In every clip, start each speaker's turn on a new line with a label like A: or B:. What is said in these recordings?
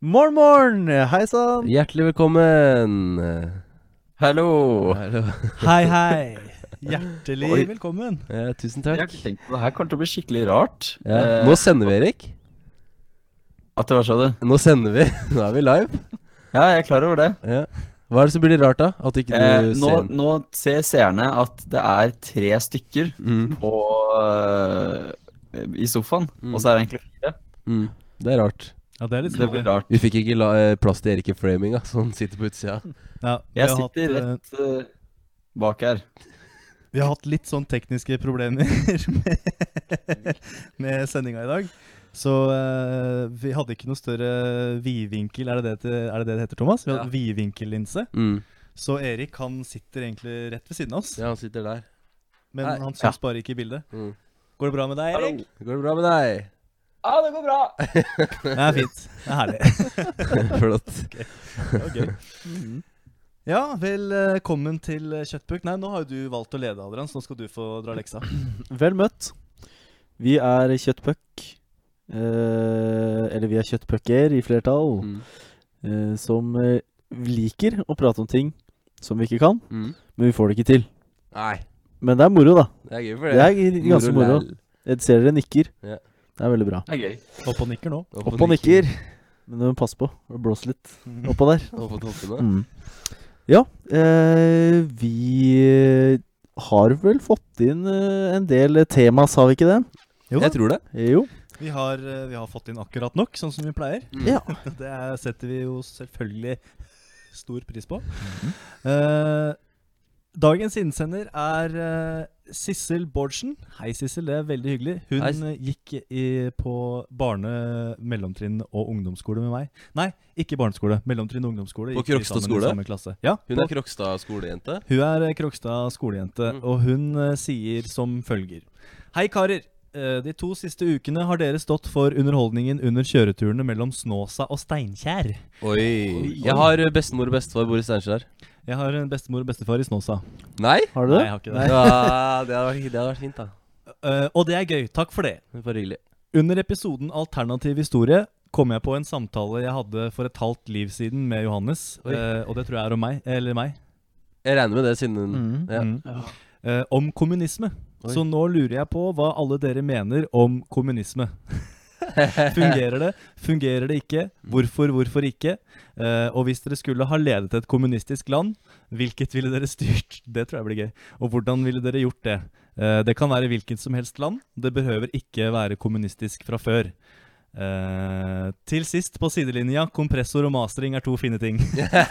A: Morn, morn! Hei sann!
B: Hjertelig velkommen. Hallo. Hallo.
A: Hei, hei. Hjertelig
C: Oi.
A: velkommen.
B: Ja, tusen
C: Jeg har
B: takk.
C: ikke tenkt på det her. Kommer til å bli skikkelig rart.
B: Ja.
C: Eh,
B: Nå sender vi, Erik.
C: At det var sånn.
B: Nå sender vi. Nå er vi live.
C: Ja, jeg er klar over det.
B: Ja. Hva er det som blir rart, da? At ikke du
C: Eh, nå,
B: ser den?
C: nå ser seerne at det er tre stykker
B: Mm,
C: på, eh, i sofaen, og så er det egentlig fire.
B: mm. Det er rart.
A: Ja, det er litt sånn,
C: Det blir rart.
B: Vi fikk ikke la, eh, plass til Erik i framinga, så han sitter på utsida.
A: Ja, vi,
C: Jeg
A: har hatt,
C: sitter
A: eh,
C: rett eh, bak her.
A: vi har hatt litt sånn tekniske problemer med, med sendinga i dag. Så eh, vi hadde ikke noe større vidvinkel, er det det, til, er det, det det heter, Thomas? Vi hadde vidvinkellinse.
B: Mm.
A: Så Erik han sitter egentlig rett ved siden av oss,
B: Ja, han sitter der.
A: men
B: Nei.
A: han syns bare ikke i bildet.
B: Mm.
A: Går det bra med deg, Erik?
B: Går det bra med deg?
C: Ja, det går bra!
A: Det er fint. Det er herlig.
B: Flott.
A: Ja, velkommen til eh, Kjøttpukk. Nei, nå har jo du valgt å lede, Adrian, så nå skal du få dra leksa.
D: Vel møtt. Vi er kjøttpuck. Eh, eller vi er kjøttpucker i flertall.
B: Mm.
D: Eh, som eh, liker å prate om ting som vi ikke kan,
B: Mm.
D: men vi får det ikke til.
B: Nei,
D: Men det er moro, da.
B: det er gøy for
D: Det
B: det.
D: er g- ganske moro.
B: læl.
D: Jeg ser dere nikker.
B: Ja.
D: Det er veldig bra.
C: Det er gøy.
A: Opp og nikker nå.
D: Opp og nikker. Men du må passe på. Blås litt oppå der.
B: Opp på toppene.
D: Mm. Ja, eh, vi eh, har vel fått inn eh, en del tema, sa vi ikke det?
A: Jo da.
B: Jeg tror det.
D: Jo.
A: Vi har, eh, vi har fått inn akkurat nok, sånn som vi pleier.
D: Ja.
B: Mm.
A: Det er- setter vi jo selvfølgelig stor pris på.
B: Mm-hmm.
A: Eh, dagens innsender er eh, Sissel Bårdsen. Hei, Sissel. Det er veldig hyggelig. Hun
B: Hei.
A: eh, gikk i, på barne-, mellomtrinn og ungdomsskole med meg. Nei, ikke barneskole. Mellomtrinn og ungdomsskole.
B: På
A: gikk vi
B: Krokstad
A: sammen i
B: skole?
A: Samme klasse. Ja,
B: Hun
A: på-
B: er Krokstad skolejente.
A: hun er eh, Krokstad skolejente,
B: Mm.
A: og hun eh, sier som følger. Hei, karer. Eh, De to siste ukene har dere stått for underholdningen under kjøreturene mellom Snåsa og Steinkjer.
B: Oi. Jeg har eh, bestemor og bestefar bor i Steinkjer.
A: Jeg har en bestemor og bestefar i Snåsa.
B: Nei?
D: Har du det?
A: Nei, jeg har ikke det.
B: Ja, det hadde vært, det hadde vært fint, da.
A: Eh, og det er gøy. Takk for det.
B: Det er Bare hyggelig.
A: Under episoden Alternativ historie kom jeg på en samtale jeg hadde for et halvt liv siden med Johannes.
B: Oi.
A: eh, og det tror jeg er om meg. Eller meg.
B: Jeg regner med det, siden hun
D: Mm.
B: ja.
A: Mm. Eh, om kommunisme.
B: Oi.
A: Så nå lurer jeg på hva alle dere mener om kommunisme. Fungerer det? Fungerer det ikke? Hvorfor, hvorfor ikke? Eh, og hvis dere skulle ha ledet et kommunistisk land, hvilket ville dere styrt? Det tror jeg blir gøy. Og hvordan ville dere gjort det? Eh, det kan være hvilket som helst land. Det behøver ikke være kommunistisk fra før. Eh, til sist på sidelinja, kompressor og mastering er to fine ting.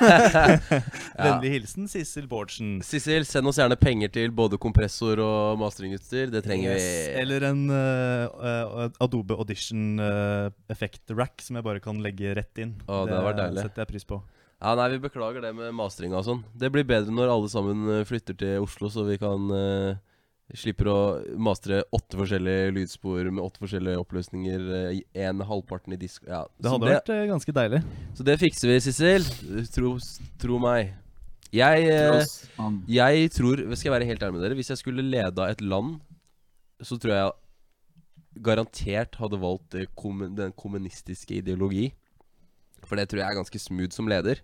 A: Vennlig hilsen Sissel Bårdsen.
B: Sissel, send oss gjerne penger til både kompressor og masteringutstyr. Det trenger
A: Yes,
B: vi.
A: Eller en eh, eh, Adobe Audition eh, effect rack som jeg bare kan legge rett inn.
B: Å, det hadde vært deilig.
A: setter jeg pris på.
B: Ja, nei, Vi beklager det med mastringa og sånn. Det blir bedre når alle sammen eh, flytter til Oslo, så vi kan eh, Slipper å mastre åtte forskjellige lydspor med åtte forskjellige oppløsninger. eh, i En halvparten i disk... Ja.
A: Det
B: så
A: hadde vært eh, ganske deilig.
B: Så det fikser vi, Sissel. Tro, tro meg. Jeg eh,
C: Tross han.
B: Jeg tror, skal jeg være helt ærlig med dere Hvis jeg skulle leda et land Så tror jeg garantert hadde valgt det kommun- den kommunistiske ideologi For det tror jeg er ganske smooth som leder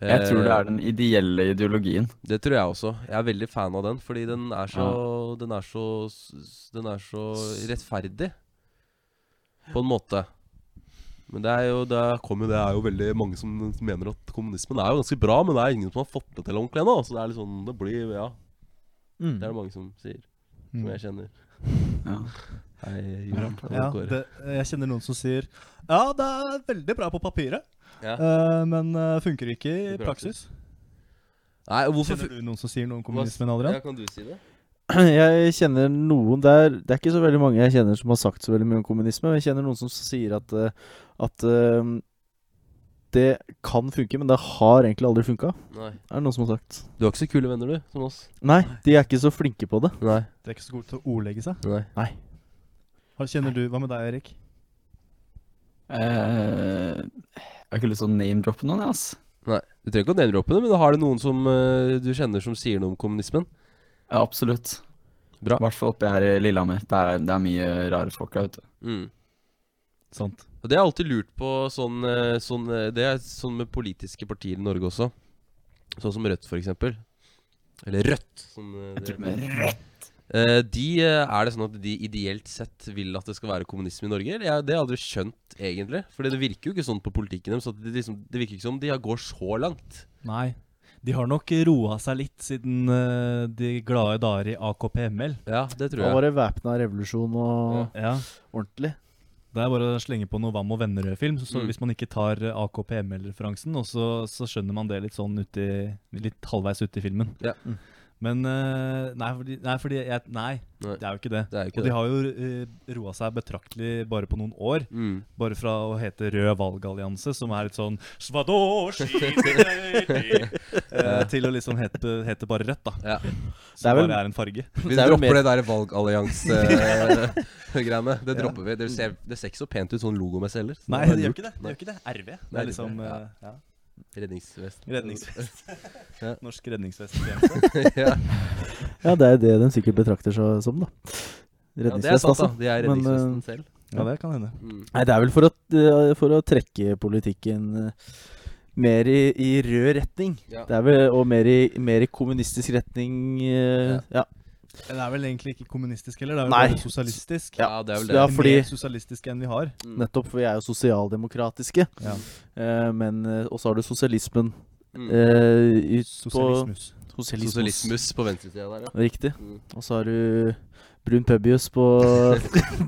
C: Jeg tror det
B: Eh,
C: er den ideelle ideologien.
B: Det tror jeg også Jeg er veldig fan av den Fordi den er så, den er så, s- den er så rettferdig På en måte men det er, jo, det, kommer, det er jo veldig mange som mener at kommunismen er jo ganske bra, men det er ingen som har fått det til ordentlig ennå. Så det er litt sånn, det blir, ja,
A: Mm.
B: det er det mange som sier, som jeg kjenner.
C: Ja.
B: Hei, Jørn.
A: Ja, det, jeg kjenner noen som sier Ja, det er veldig bra på papiret,
B: Ja.
A: eh, men eh, funker ikke i
B: I
A: praksis.
B: praksis. Nei, hvorfor
A: Kjenner du noen som sier noe om kommunismen, Adrian?
B: Ja, kan du si det?
D: Jeg kjenner noen der Det er ikke så veldig mange jeg kjenner som har sagt så veldig mye om kommunisme. Men jeg kjenner noen som sier at, eh, at eh, det kan funke, men det har egentlig aldri funka.
B: Nei.
D: Er det noen som har sagt.
B: Du har ikke så kule venner, du, som oss.
D: Nei, de er ikke så flinke på det.
B: Nei.
A: Det er ikke så god til å ordlegge seg.
B: Nei.
D: Nei.
A: Hva Kjenner du, Hva med deg, Erik?
C: Eh, jeg har ikke lyst til å name-droppe noen, jeg, ass.
B: Du trenger ikke å name-droppe det, men har du noen som eh, du kjenner som sier noe om kommunismen?
C: Ja, absolutt.
B: Bra.
C: I hvert fall oppe her i Lillehammer. Det er, det er mye rare folk her, vet du.
B: Mm.
A: Sant.
B: Og det har jeg alltid lurt på sånn, eh, sånn eh, Det er sånn med politiske partier i Norge også. Sånn som Rødt, for eksempel. Eller Rødt, som eh, det heter. Eh, de, eh, er det sånn at de ideelt sett vil at det skal være kommunisme i Norge? Eller? Jeg, det har jeg aldri skjønt, egentlig. Fordi det virker jo ikke sånn på politikken deres. at Det, liksom, det virker ikke som de går så langt.
A: Nei. De har nok roa seg litt siden eh, de glade dager i AKP-ML.
B: Ja, det tror
D: Da
B: jeg.
D: var det væpna revolusjon og
A: Ja.
D: ordentlig.
A: Det er bare å slenge på noe Vam og Vennerød-film. Så, så
B: Mm.
A: Hvis man ikke tar eh, AKP-ML-referansen, og så, så skjønner man det litt sånn ut i, litt halvveis ute i filmen.
B: Ja.
D: Mm.
A: Men eh, nei, fordi, nei, fordi jeg, nei,
B: Nei.
A: det er jo ikke det.
B: Det er jo
A: Og
B: ikke
A: de
B: det.
A: har jo eh, roa seg betraktelig bare på noen år.
B: Mm.
A: Bare fra å hete Rød valgallianse, som er litt sånn «Svadosji deli», eh, Til å liksom hete, hete bare Rødt, da.
B: Ja.
A: Som
D: er vel-
A: bare er en farge.
B: Vi
D: Det er vel
B: dropper
D: mer-
B: det der valgallianse-greiene. Det dropper vi. Det ser, det ser ikke så pent ut sånn logomessig heller. så
A: Nei,
B: er
A: det gjør ikke
B: lurt.
A: det. Det gjør ikke det. RV. Det
B: Nei,
A: er liksom
B: det- ja.
A: eh, ja.
B: Redningsvest.
A: Redningsvest.
B: Ja.
A: Norsk redningsvesttjeneste.
B: ja.
D: Ja, det er det de sikkert betrakter seg som, da.
B: ja, det er sant,
D: Redningsvest,
B: da.
D: altså.
B: De er
D: Men,
B: redningsvesten selv.
A: Ja, det kan hende.
B: Mm.
D: Nei, det er vel for å, eh, for å trekke politikken eh, mer i, i rød retning.
B: Ja.
D: Det er vel, Og mer i, mer i kommunistisk retning. eh, ja.
A: Det er vel egentlig ikke kommunistisk heller, det er vel
D: Nei.
A: bare sosialistisk.
B: Ja, det er vel det.
D: Ja, fordi-
A: Mer sosialistisk enn vi har.
B: Mm.
D: Nettopp, for vi er jo sosialdemokratiske.
A: Ja.
D: Eh, men eh, Og så har du sosialismen.
B: Mm.
D: Eh, i-
A: Sosialismus.
D: På, sosialismus.
B: Sosialismus på venstresida der, ja.
D: Riktig.
B: Mm.
D: Og så har du brun pubius på,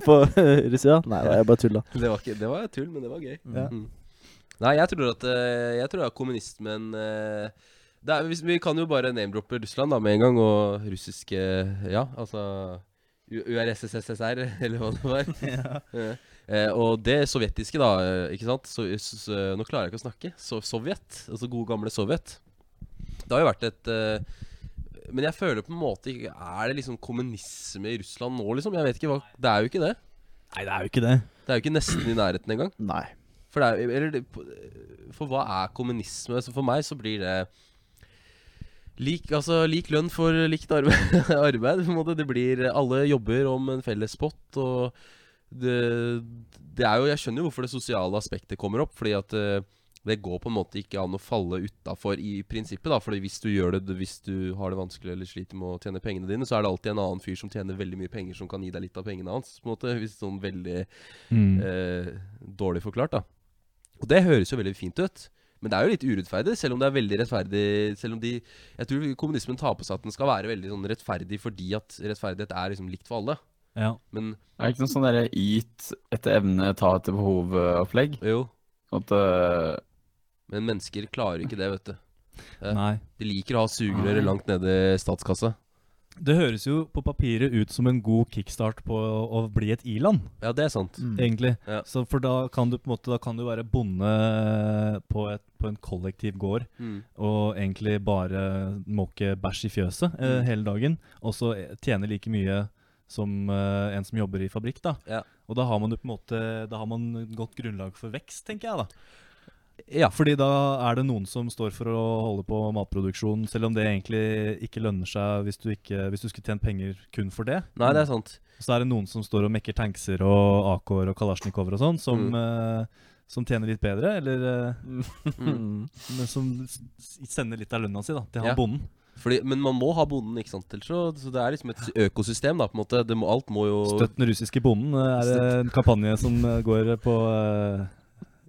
D: på høyresida. Nei da, jeg bare tulla.
B: Det var, ikke, det var tull, men det var gøy.
A: Ja.
B: Mm. Nei, jeg tror at, eh, jeg tror at kommunismen eh, det er, hvis, Vi kan jo bare name-droppe Russland da med en gang, og russiske Ja, altså U- URSSSR, eller hva det var. Eh, eh, og det sovjetiske, da. eh, ikke sant? Så, s- s- eh, nå klarer jeg ikke å snakke. So Sovjet. Altså gode, gamle Sovjet. Det har jo vært et eh, Men jeg føler på en måte ikke Er det liksom kommunisme i Russland nå, liksom? Jeg vet ikke hva Det er jo ikke det.
A: Nei, det er jo ikke det.
B: Det er jo ikke nesten i nærheten engang.
D: Nei.
B: For, det er, jo- eller, det- på- for hva er kommunisme? Så for meg så blir det lik, altså, lik lønn for likt arbeid. arbeid på en måte. Det blir Alle jobber om en felles pott. Og det, det er jo Jeg skjønner jo hvorfor det sosiale aspektet kommer opp. Fordi at eh, det går på en måte ikke an å falle utafor i prinsippet. da Fordi hvis du gjør det Hvis du har det vanskelig eller sliter med å tjene pengene dine, så er det alltid en annen fyr som tjener veldig mye penger, som kan gi deg litt av pengene hans. På en måte Hvis sånn veldig
A: Mm.
B: eh, dårlig forklart, da. Og det høres jo veldig fint ut. Men det er jo litt urettferdig, selv om det er veldig rettferdig Selv om de Jeg tror kommunismen tar på seg at den skal være veldig sånn rettferdig fordi at rettferdighet er liksom likt for alle.
A: Ja.
B: Men
C: Er det ikke noe sånn derre yt etter evne, ta etter behov-opplegg?
B: jo,
C: At eh,
B: men mennesker klarer ikke det, vet du. Ja.
A: Nei.
B: De liker å ha sugerøret langt nede i statskassa.
A: Det høres jo på papiret ut som en god kickstart på å å bli et i-land,
B: Ja, det er sant.
A: egentlig.
B: Ja.
A: Så for da kan du på en måte Da kan du være bonde på, et, på en kollektiv gård
B: Mm.
A: og egentlig bare måke bæsj i fjøset eh,
B: Mm.
A: hele dagen, og så eh, tjene like mye som eh, en som jobber i fabrikk, da.
B: Ja.
A: Og da har man jo på en måte Da har man godt grunnlag for vekst, tenker jeg, da.
B: Ja.
A: Fordi da er det noen som står for å holde på matproduksjon, selv om det egentlig ikke lønner seg hvis du, ikke, hvis du skulle tjent penger kun for det.
B: Nei, det er sant.
A: Så er det noen som står og mekker tankser og AK-er og kalasjnikover og sånn, som,
B: Mm.
A: eh, som tjener litt bedre, eller eh,
D: Mm.
A: men som s- s- sender litt av lønna si da, til han
B: Ja.
A: bonden.
B: Fordi, men man må ha bonden, ikke sant? Ellers så, så det er liksom et økosystem, da, på en måte. Det må, alt må jo
A: Støtt den russiske bonden eh, er det en kampanje som eh, går på eh,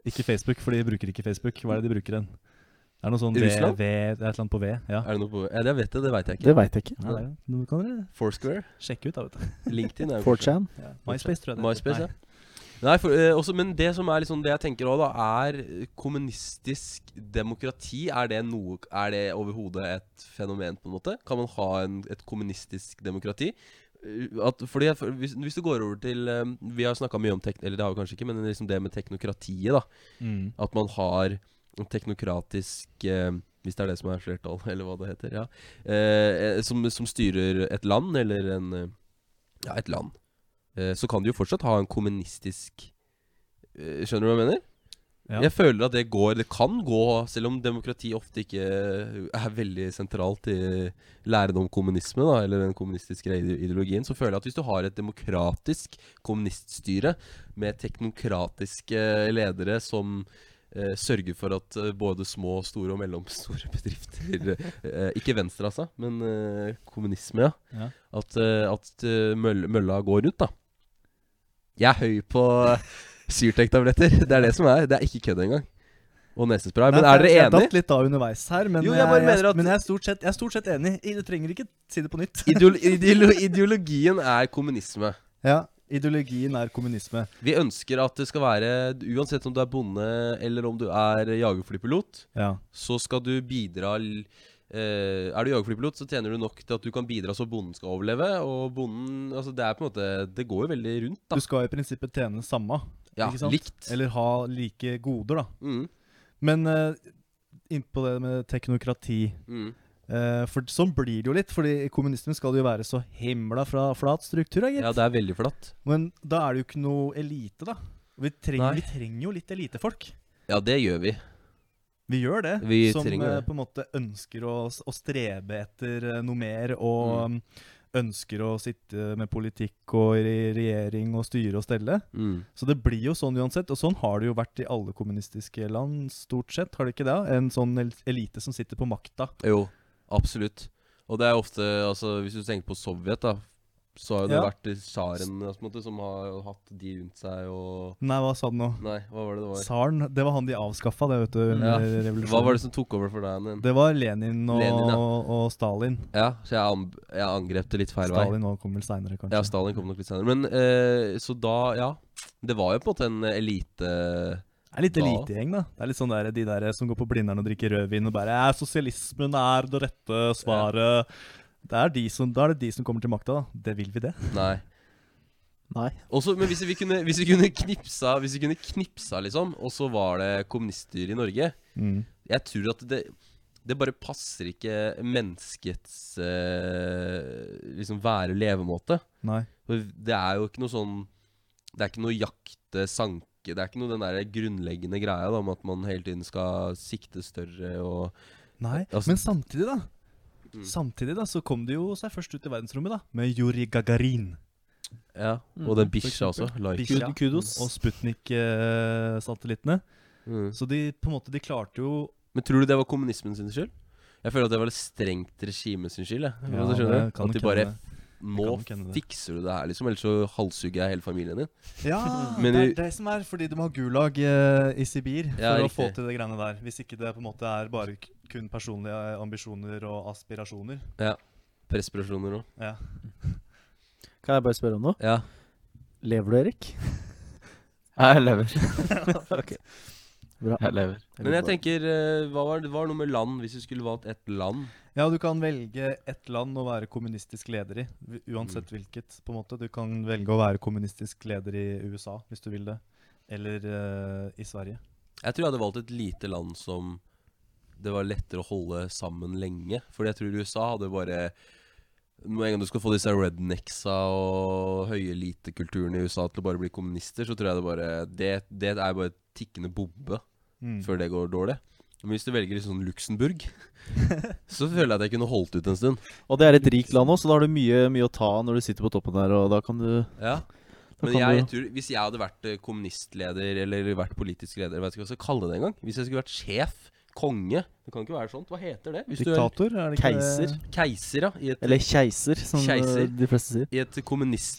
A: Ikke Facebook, for de bruker ikke Facebook. Hva er det de bruker den? Det er noe sånn V, v
B: Russland?
A: det er et eller annet på V. Ja.
B: Er det noe på Ja, det vet jeg, det veit jeg ikke.
D: Det veit jeg ikke.
A: Ja, det er jo- nå kan dere
B: Foursquare?
A: sjekke ut, da, vet du.
B: LinkedIn er jo
D: 4chan.
A: MySpace, tror jeg det
B: MySpace, ja. Nei, for, eh, også, men det som er liksom det jeg tenker òg, da, er eh, kommunistisk demokrati Er det noe Er det overhodet et fenomen, på en måte? Kan man ha en, et kommunistisk demokrati? Eh, At, fordi at, for, hvis, hvis du går over til eh, Vi har snakka mye om tek, Eller det har vi kanskje ikke, men liksom det med teknokratiet, da.
A: Mm.
B: At man har en teknokratisk eh, Hvis det er det som er flertall, eller hva det heter. Ja. Eh, eh, som, som styrer et land, eller en eh, Ja, et land. Eh, så kan du jo fortsatt ha en kommunistisk eh, Skjønner du hva jeg mener?
A: Ja.
B: Jeg føler at det går Det kan gå, selv om demokrati ofte ikke er veldig sentralt i læren om kommunisme, da, eller den kommunistiske ide- ideologien, så føler jeg at hvis du har et demokratisk kommuniststyre med teknokratiske ledere som eh, sørger for at eh, både små, store og mellomstore bedrifter eh, Ikke Venstre, altså, men eh, kommunisme, ja.
A: Ja.
B: At, eh, at eh, møll, mølla går rundt, da. Jeg er høy på eh, Syrtec-tabletter. Det er det som er. Det er ikke kødd engang. Og nesespray. Men
A: Nei,
B: er
A: jeg-
B: dere
A: Jeg
B: enige?
A: datt litt av underveis her, men
B: Jo, jeg
A: jeg,
B: bare
A: jeg,
B: mener at-
A: men jeg, er stort sett, jeg er stort sett enig. I- Du trenger ikke si det på nytt.
B: Ideolo ideolo ideologien er kommunisme.
A: ja, Ideologien er kommunisme.
B: Vi ønsker at det skal være Uansett om du er bonde eller om du er jagerflypilot,
A: Ja.
B: så skal du bidra l- eh, Er du jagerflypilot, så tjener du nok til at du kan bidra så bonden skal overleve. Og bonden Altså, det er på en måte Det går jo veldig rundt, da.
A: Du skal i prinsippet tjene samme,
B: Ja,
A: ikke sant?
B: likt.
A: eller ha like goder, da.
B: Mm,
A: Men uh, innpå det med teknokrati
B: mm.
A: eh, For sånn blir det jo litt, fordi kommunismen skal jo være så himla fra flat struktur, da, gitt.
B: Ja, det er veldig flatt.
A: Men da er det jo ikke noe elite, da. Vi trenger, vi
B: Nei.
A: trenger jo litt elitefolk.
B: Ja, det gjør vi.
A: Vi gjør det.
B: Vi
A: som
B: trenger
A: eh,
B: det.
A: på en måte ønsker å, s- å strebe etter eh, noe mer, og mm. ønsker å sitte med politikk og i regjering og styre og stelle.
B: Mm.
A: Så det blir jo sånn uansett, og sånn har det jo vært i alle kommunistiske land, stort sett. Har det ikke det? En sånn el- elite som sitter på makta.
B: Jo, absolutt. Og det er ofte altså, Hvis du tenker på Sovjet, da, så har jo det
A: Ja.
B: vært tsaren altså, på en måte, som har hatt de rundt seg og
A: Nei, hva sa du nå?
B: Nei, hva var det det var?
A: Tsaren, det var han de avskaffa, det, vet du.
B: Ja.
A: under
B: Hva
A: revolusjonen.
B: var det som tok over for deg? Nen?
A: Det var Lenin og,
B: Lenin, ja.
A: og Stalin.
B: Ja, så jeg, an jeg angrep det litt feil vei.
A: Stalin nå kommer vel seinere, kanskje.
B: Ja, Stalin kom nok litt senere. Men eh, så da, ja. Det var jo på en måte en elite
A: Det er litt
B: Da.
A: elitegjeng, da. Det er litt sånn der, De der som går på Blindern og drikker rødvin og bare «Ja, 'Sosialismen er det rette svaret'. Det er de som, da er det de som kommer til makta, da. Det vil vi, det.
B: Nei.
D: Nei.
B: Også, men hvis vi kunne, hvis vi kunne knipsa, hvis vi kunne knipsa liksom, og så var det kommuniststyre i Norge, Jeg tror at det det bare passer ikke menneskets eh, liksom være og levemåte.
A: Nei.
B: For Det er jo ikke noe sånn Det er ikke noe jakte, sanke Det er ikke noe den der grunnleggende greia da, om at man hele tiden skal sikte større og
A: Nei.
B: Altså-
A: Men samtidig, da.
B: Mm.
A: Samtidig da, så kom de jo seg først ut i verdensrommet, da. Med Juri Gagarin.
B: Ja,
D: Mm,
B: og den
A: for
B: bikkja også.
A: eksempel.
B: Like.
A: Bikkja.
D: Kud- kudos.
A: Og eh, Sputnik-satellittene.
B: Mm.
A: Så de på en måte, de klarte jo
B: Men tror du det var kommunismen sin skyld? Jeg føler at det var et strengt regime sin skyld. Jeg.
A: Ja,
B: Altså, skjønner
A: det
B: du?
A: kan
B: At
A: nok
B: de bare
A: hende.
B: Nå
A: kan nok hende det.
B: fikser du det her, liksom. Ellers så halshugger jeg hele familien din.
A: Ja,
B: Men
A: det er
B: vi-
A: det som er fordi de har gulag eh, i Sibir for
B: Ja,
A: å få
B: riktig.
A: til de greiene der. Hvis ikke det på en måte er bare k- kun personlige eh, ambisjoner og aspirasjoner.
B: Presspersoner òg.
A: Ja.
D: Kan jeg bare spørre om noe?
B: Ja.
D: Lever du, Erik?
C: eh, Jeg lever.
D: Bra.
C: Jeg lever.
B: Men jeg tenker, eh, hva var, det var noe med land, hvis du skulle valgt ett land?
A: ja, du kan velge ett land å være kommunistisk leder i. v- Uansett
B: Mm.
A: hvilket. på en måte. Du kan velge å være kommunistisk leder i USA hvis du vil det. Eller eh, i Sverige.
B: Jeg tror jeg hadde valgt et lite land som det var lettere å holde sammen lenge. Fordi jeg tror USA hadde bare Med en gang du skal få disse rednecksa og høyelitekulturen i USA til å bare bli kommunister, så tror jeg det bare Det, det er bare et tikkende bombe
A: Mm.
B: før det går dårlig. Men hvis du velger liksom sånn Luxembourg, så føler jeg at jeg kunne holdt ut en stund.
D: Og det er et rikt land òg, så da har du mye, mye å ta av når du sitter på toppen der, og da kan du
B: Ja
D: da
B: Men
D: kan
B: jeg
D: du,
B: tror, hvis jeg hadde vært eh, kommunistleder eller vært politisk leder, jeg vet ikke hva jeg skal kalle det engang Hvis jeg skulle vært sjef, konge Det kan ikke være sånt. Hva heter det? Hvis du er
A: Diktator, er det ikke
D: Keiser.
B: keiser, ja, i et,
D: Eller keiser, som eh,
B: Keiser.
D: de fleste sier.
B: i et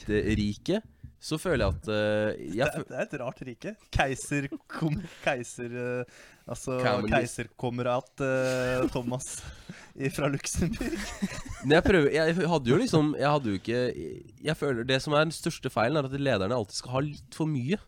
B: kommunistrike, så føler jeg at eh,
A: Det
B: jeg,
A: er,
B: fø-
A: det er et rart rike. Keiser... Kom, keiser eh, altså
B: Communist.
A: keiserkamerat eh, Thomas fra Luxembourg.
B: Men jeg prøver Jeg hadde jo liksom Jeg hadde jo ikke Jeg føler Det som er den største feilen, er at lederne alltid skal ha litt for mye.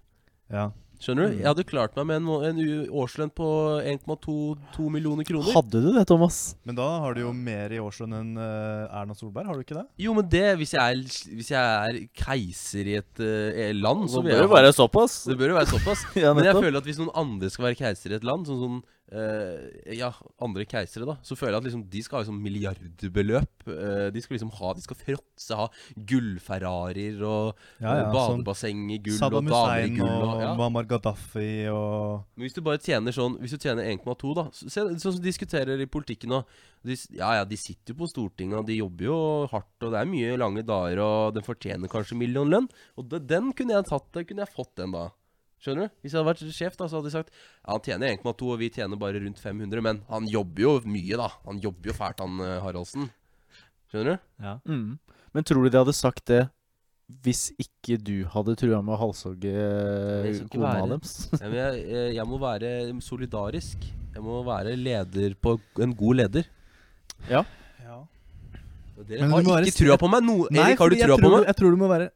A: Ja.
B: Skjønner du?
D: Mm.
B: Jeg hadde klart meg med en, må- en u- årslønn på 1,22 millioner kroner.
D: Hadde du det, Thomas?
A: Men da har du jo mer i årslønn enn eh, Erna Solberg, har du ikke det?
B: Jo, men det Hvis jeg er, hvis jeg er keiser i et eh, land, så vil
D: bør
B: jeg
D: det være såpass.
B: Det bør jo være såpass.
D: Ja,
B: Men jeg
D: nettopp.
B: føler at hvis noen andre skal være keiser i et land, sånn sånn eh, Ja, andre keisere, da, så føler jeg at liksom de skal ha liksom milliardbeløp. eh, de skal liksom ha De skal fråtse, ha gullferrarier og, og badebasseng i gull og
A: sånn Saddam
B: damer i
A: Hussein
B: gull
A: og,
B: og, ja.
A: Muammar Gaddafi og
B: Men hvis du bare tjener sånn Hvis du tjener 1,2 da så- se, Sånn som de diskuterer i politikken nå de, s- Ja ja, de sitter jo på Stortinget Og de jobber jo hardt Og det er mye lange dager Og den fortjener kanskje millionlønn Og det, den kunne jeg tatt Den kunne jeg fått den da Skjønner du? Hvis jeg hadde vært sjef da Så hadde de sagt Ja, han tjener 1,2 Og vi tjener bare rundt 500 Men han jobber jo mye da Han jobber jo fælt han eh, Haraldsen Skjønner du?
A: ja.
D: Mm. Men tror du de hadde sagt det hvis ikke du hadde trua med å halshogge
B: skal ikke
D: kona
B: være.
D: deres?
B: Ja, men jeg, eh, jeg må være solidarisk Jeg må være leder på En god leder Og Dere
A: Men du
B: har
A: må være
B: ikke
A: sti-
B: trua på meg nå.
A: Nei,
B: Erik, har du
A: fordi jeg
B: trua på
A: tror-
B: meg?
A: Jeg tror det må være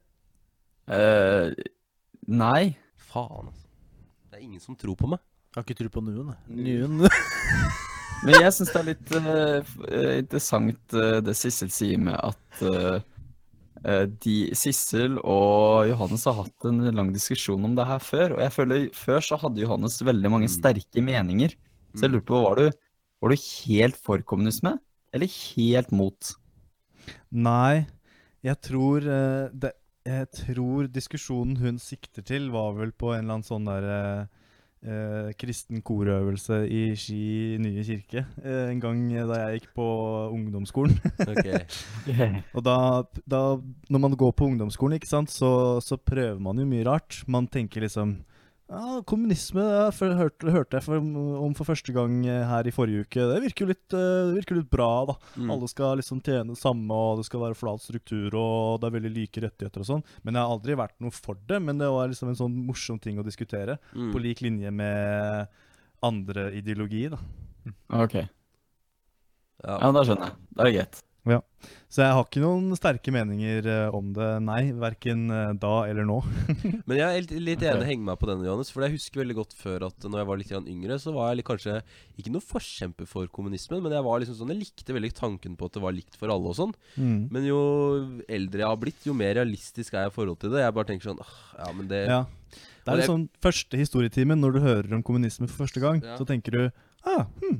C: Eh, nei.
B: Faen, altså. Det er ingen som tror på meg.
D: Har ikke tru på nuen,
C: jeg.
D: Nuen.
C: Men jeg syns det er litt eh, f- eh, interessant eh, det Sissel sier med at eh, eh, de, Sissel og Johannes har hatt en lang diskusjon om det her før. Og jeg føler før så hadde Johannes veldig
B: Mm.
C: mange sterke meninger. Så jeg lurer på, var du, var du helt for kommunisme, eller helt mot?
A: Nei, jeg tror eh, det, Jeg tror diskusjonen hun sikter til, var vel på en eller annen sånn der eh, eh, kristen korøvelse i Ski nye kirke eh, en gang eh, da jeg gikk på ungdomsskolen.
B: Ok.
A: Og da, da Når man går på ungdomsskolen, ikke sant, så, så prøver man jo mye rart. Man tenker liksom ja, Kommunisme det har jeg hørt, hørte jeg for, om for første gang eh, her i forrige uke. Det virker jo litt, eh, det virker litt bra, da. Alle skal liksom tjene det samme, og det skal være flat struktur, og det er veldig like rettigheter og sånn. Men jeg har aldri vært noe for det, men det var liksom en sånn morsom ting å diskutere.
B: Mm.
A: På lik linje med andre ideologi, da.
C: Ok.
B: Ja.
C: Ja, da skjønner jeg. Da er det greit.
A: Så jeg har ikke noen sterke meninger eh, om det, nei. Verken eh, da eller nå.
B: Men jeg er helt, litt enig
C: Ok.
B: henge meg på denne, Johannes. For jeg husker veldig godt før at når jeg var litt grann yngre, så var jeg litt, kanskje ikke noe forkjemper for kommunismen, men jeg var liksom sånn, jeg likte veldig tanken på at det var likt for alle og sånn. Men jo eldre jeg har blitt, jo mer realistisk er jeg i forhold til det. Jeg bare tenker sånn «Ah, Ja, men det
A: Ja. Det
B: Og
A: er
B: jeg-
A: liksom første historietimen, når du hører om kommunisme for første gang,
B: Ja.
A: så tenker du ah, hm.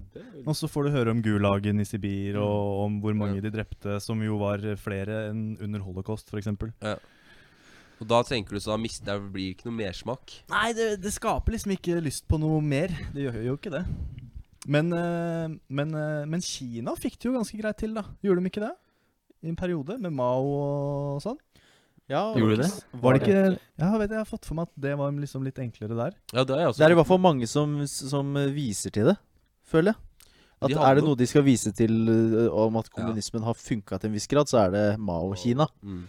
A: Og så får du høre om gulagen i Sibir, og om hvor mange
B: Ja.
A: de drepte, som jo var flere enn under holocaust, f.eks.
B: Og da tenker du så da mister jeg blir ikke noe mersmak.
A: Nei, det, det skaper liksom ikke lyst på noe mer. Det gjør jo ikke det. Men, eh, men, eh, men Kina fikk det jo ganske greit til, da. Gjorde de ikke det? I en periode, med Mao og sånn.
D: Ja,
C: Gjorde du det?
A: Var det ikke Ja, vet jeg, jeg har fått for meg at det var liksom litt enklere der.
B: Ja, det er jeg også.
D: Det er i hvert fall mange som, som viser til det, føler jeg. At
B: De har
D: er det
B: noe-
D: noe de skal vise til eh, om at kommunismen har funka til en viss grad, så er det Mao-Kina.
B: Mm.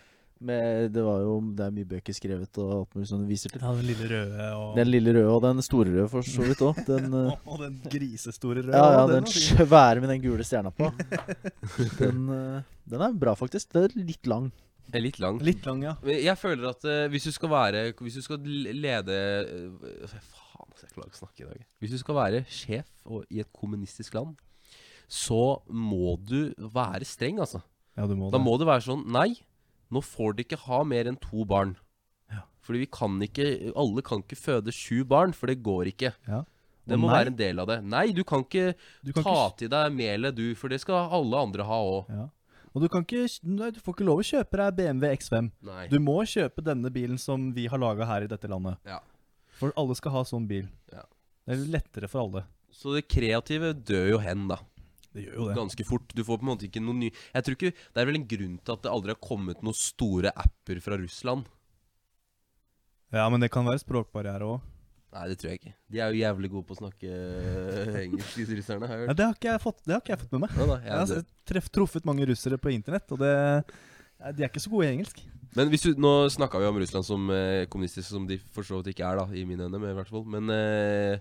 D: Men Det var jo Det er mye bøker skrevet og alt mulig som de viser til.
A: Ja, den lille røde og
D: Den lille røde og den store røde for så vidt òg. Den eh,
A: Og den grisestore røde.
D: Ja, ja,
A: den
D: den
A: var fin.
D: svære med den gule stjerna på. Den, eh, den er bra, faktisk. Den er litt lang.
B: Jeg er litt lang.
A: Litt lang, ja.
B: Men Jeg føler at eh, hvis du skal være Hvis du skal l- lede eh, Faen, altså, jeg klarer ikke å snakke i dag. Hvis du skal være sjef og, i et kommunistisk land, så må du være streng, altså.
A: Ja, du må
B: Da
A: det.
B: må det være sånn Nei, nå får de ikke ha mer enn to barn.
A: Ja.
B: Fordi vi kan ikke Alle kan ikke føde sju barn, for det går ikke.
A: Ja.
B: Det
A: Og
B: må
A: nei.
B: være en del av det. Nei, du kan ikke
A: Du kan
B: ta
A: ikke
B: til deg melet, du, for det skal alle andre ha òg.
A: Ja. Og du kan ikke Nei, du får ikke lov å kjøpe deg BMW X5.
B: Nei.
A: Du må kjøpe denne bilen som vi har laga her i dette landet.
B: Ja.
A: For alle skal ha sånn bil.
B: Ja.
A: Det er lettere for alle.
B: Så det kreative dør jo hen, da.
A: Det gjør jo
B: ganske fort. Du får på en måte ikke noe ny Jeg tror ikke Det er vel en grunn til at det aldri har kommet noen store apper fra Russland.
A: Ja, men det kan være språkbarriere òg.
B: Nei, det tror jeg ikke. De er jo jævlig gode på å snakke eh, engelsk, disse russerne. Har jeg
A: Ja,
B: hørt.
A: det, har ikke jeg fått- det har ikke jeg fått med meg.
B: Ja, da,
A: Jeg har
B: jeg,
A: s- treff, truffet mange russere på internett, og det ja, de er ikke så gode i engelsk.
B: men hvis du, nå snakka vi om Russland som eh, kommunistisk, som de for så vidt ikke er, da, i mine øyne, men i hvert fall. Men eh,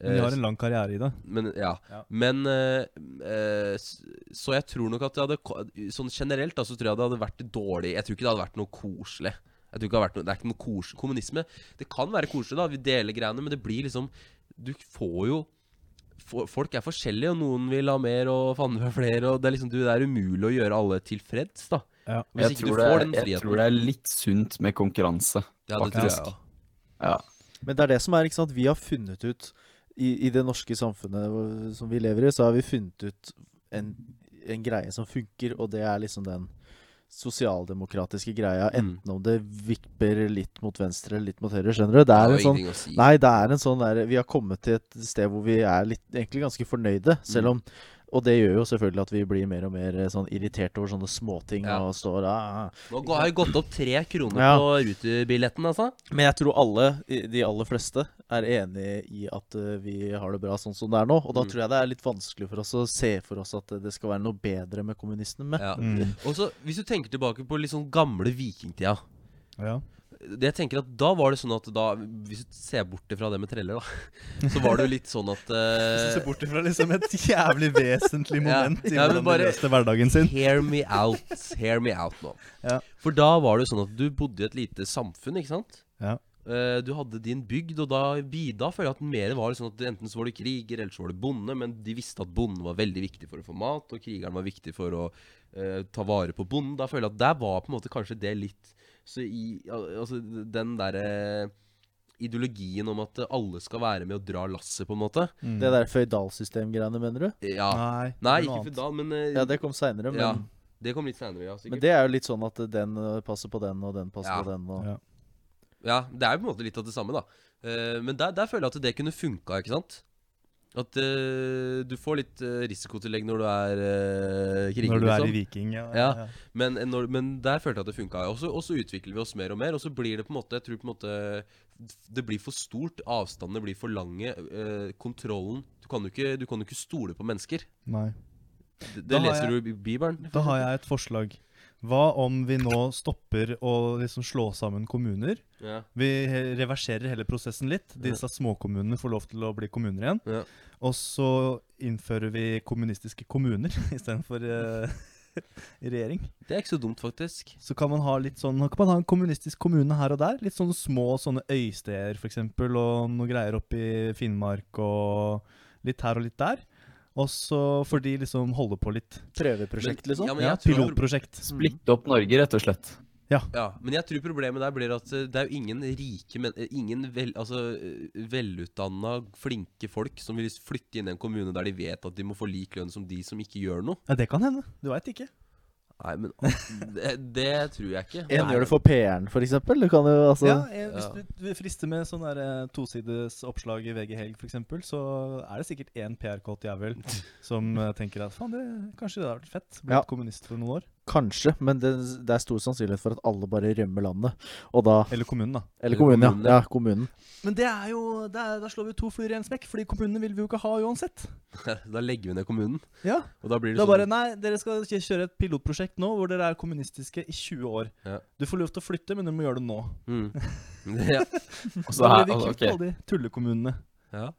A: Men de
B: eh,
A: har en lang karriere i det.
B: Men ja.
A: Ja.
B: Men eh, eh, s- Så jeg tror nok at det hadde ko- Sånn generelt da, så tror jeg det hadde vært dårlig. Jeg tror ikke det hadde vært noe koselig. Jeg tror ikke det, hadde vært noe, det er ikke noe kos Kommunisme Det kan være koselig, da. Vi deler greiene, men det blir liksom Du får jo fo- Folk er forskjellige, og noen vil ha mer, og fanden vil ha flere. Og det er liksom du, Det er umulig å gjøre alle tilfreds, da.
A: Ja.
B: Hvis
C: Jeg
B: ikke du
C: tror,
B: får
C: det,
B: den
C: jeg
B: friheten.
C: tror det er litt sunt med konkurranse.
B: ja, det tror jeg,
C: faktisk.
B: ja.
C: Ja.
D: Men det er det som er, ikke sant. Vi har funnet ut i, i det norske samfunnet hvor- som vi lever i, så har vi funnet ut en, en greie som funker, og det er liksom den sosialdemokratiske greia,
B: Mm.
D: enten om det vipper litt mot venstre eller litt mot høyre, skjønner du? Det er
B: jo
D: en sånn
B: ingenting å si.
D: Nei, det er en sånn der Vi har kommet til et sted hvor vi er litt, egentlig ganske fornøyde,
B: Mm.
D: selv om Og det gjør jo selvfølgelig at vi blir mer og mer eh, sånn irritert over sånne småting
B: Ja.
D: og står ah. ah.
B: Nå har det gått opp tre kroner
D: Ja.
B: på rutebilletten, altså.
D: Men jeg tror alle, i- de aller fleste, er enig i at eh, vi har det bra sånn som det er nå. Og da
B: Mm.
D: tror jeg det er litt vanskelig for oss å se for oss at eh, det skal være noe bedre med kommunistene. Med.
B: Ja.
A: Mm.
B: Og så, hvis du tenker tilbake på litt sånn gamle vikingtida
A: Ja.
B: det jeg tenker at Da var det sånn at da Hvis du ser bort ifra det med treller, da, så var det jo litt sånn at
A: Se
B: eh,
A: bort ifra liksom et jævlig vesentlig
B: Ja.
A: moment i
B: Ja, men
A: hvordan
B: bare-
A: de løste hverdagen sin.
B: Hear me out. Hear me out nå.
A: Ja.
B: For da var det jo sånn at du bodde i et lite samfunn, ikke sant?
A: Ja.
B: Eh, Du hadde din bygd, og da, bi- da føler jeg at mer var det sånn at enten så var du kriger, eller så var du bonde, men de visste at bonden var veldig viktig for å få mat, og krigeren var viktig for å eh, ta vare på bonden. Da føler jeg at der var på en måte kanskje det litt Så i al- Altså den derre ideologien om at alle skal være med og dra lasset, på en måte.
D: Det der føydalsystemgreiene, mener du?
B: Ja.
A: Nei,
B: Nei,
A: det er noe
B: ikke
A: annet.
B: feudal, men eh,
D: Ja, det kom seinere, men,
B: Ja, det kom litt seinere, ja. Sikkert.
D: men det er jo litt sånn at eh, den eh, passer på den, og den passer
B: Ja.
D: på den. Og...
A: Ja.
B: Ja, det er jo på en måte litt av det samme, da. Eh, men der, der føler jeg at det kunne funka, ikke sant? At eh, du får litt eh, risikotillegg når du er uh, kriger,
A: Når du er i
B: liksom.
A: Viking, ja.
B: Ja. Men, eh, når, men der følte jeg at det funka. Og så- og så utvikler vi oss mer og mer, og så blir det på en måte Jeg tror på en måte det blir for stort. Avstandene blir for lange. eh, kontrollen Du kan jo ikke, du kan jo ikke stole på mennesker.
A: Nei.
B: Det,
A: Da
B: det
A: har
B: leser
A: jeg-
B: du i Bibelen.
A: Da har jeg et forslag. Hva om vi nå stopper å liksom slå sammen kommuner?
B: Ja.
A: Vi he- reverserer hele prosessen litt. Disse småkommunene får lov til å bli kommuner igjen.
B: Ja.
A: Og så innfører vi kommunistiske kommuner istedenfor uh, regjering.
B: Det er ikke så dumt, faktisk.
A: Så kan man ha litt sånn, kan man ha en kommunistisk kommune her og der. Litt sånne små sånne øysteder f.eks. Og noe greier oppe i Finnmark og litt her og litt der. Og så får de liksom holde på litt.
D: Prøveprosjekt,
B: Men-
D: liksom?
B: ja, men
A: Ja,
B: jeg tror-
A: pilotprosjekt.
C: Splitte opp Norge, rett og slett.
B: Ja, men jeg tror problemet der blir at eh, det er jo ingen rike, men eh, ingen vel, altså, eh, velutdanna, flinke folk som vil flytte inn i en kommune der de vet at de må få lik lønn som de som ikke gjør noe.
A: Ja, det kan hende. Du veit ikke.
B: Nei, men ah, det, det tror jeg ikke.
D: En
B: Nei.
D: gjør det for PR-en, for eksempel. Du kan jo altså
A: ja, eh, hvis
B: Ja.
A: du du frister med sånn der eh, tosides oppslag i VG Helg, f.eks., så er det sikkert én PR-kåt jævel som eh, tenker at faen, det kanskje det hadde vært fett. Blitt
D: Ja.
A: kommunist for noen år.
D: Kanskje, men det, det er stor sannsynlighet for at alle bare rømmer landet. Og da
A: Eller kommunen, da.
D: Eller kommunen,
B: kommunen,
D: ja.
B: ja.
D: ja. Kommunen.
A: Men det er jo, det er, da slår vi to fluer i en smekk, fordi kommunene vil vi jo ikke ha uansett.
B: Da legger vi ned kommunen.
A: Ja,
B: Og da blir det
A: Da
B: sånn
A: bare Nei, dere skal kjø- kjøre et pilotprosjekt nå hvor dere er kommunistiske i 20 år.
B: Ja.
A: Du får lov til å flytte, men du må gjøre det nå.
B: mm. ja.
C: Og så,
A: Da
C: her,
A: blir vi
C: altså,
A: kvitt
C: ok,
A: alle de tullekommunene.
B: Ja.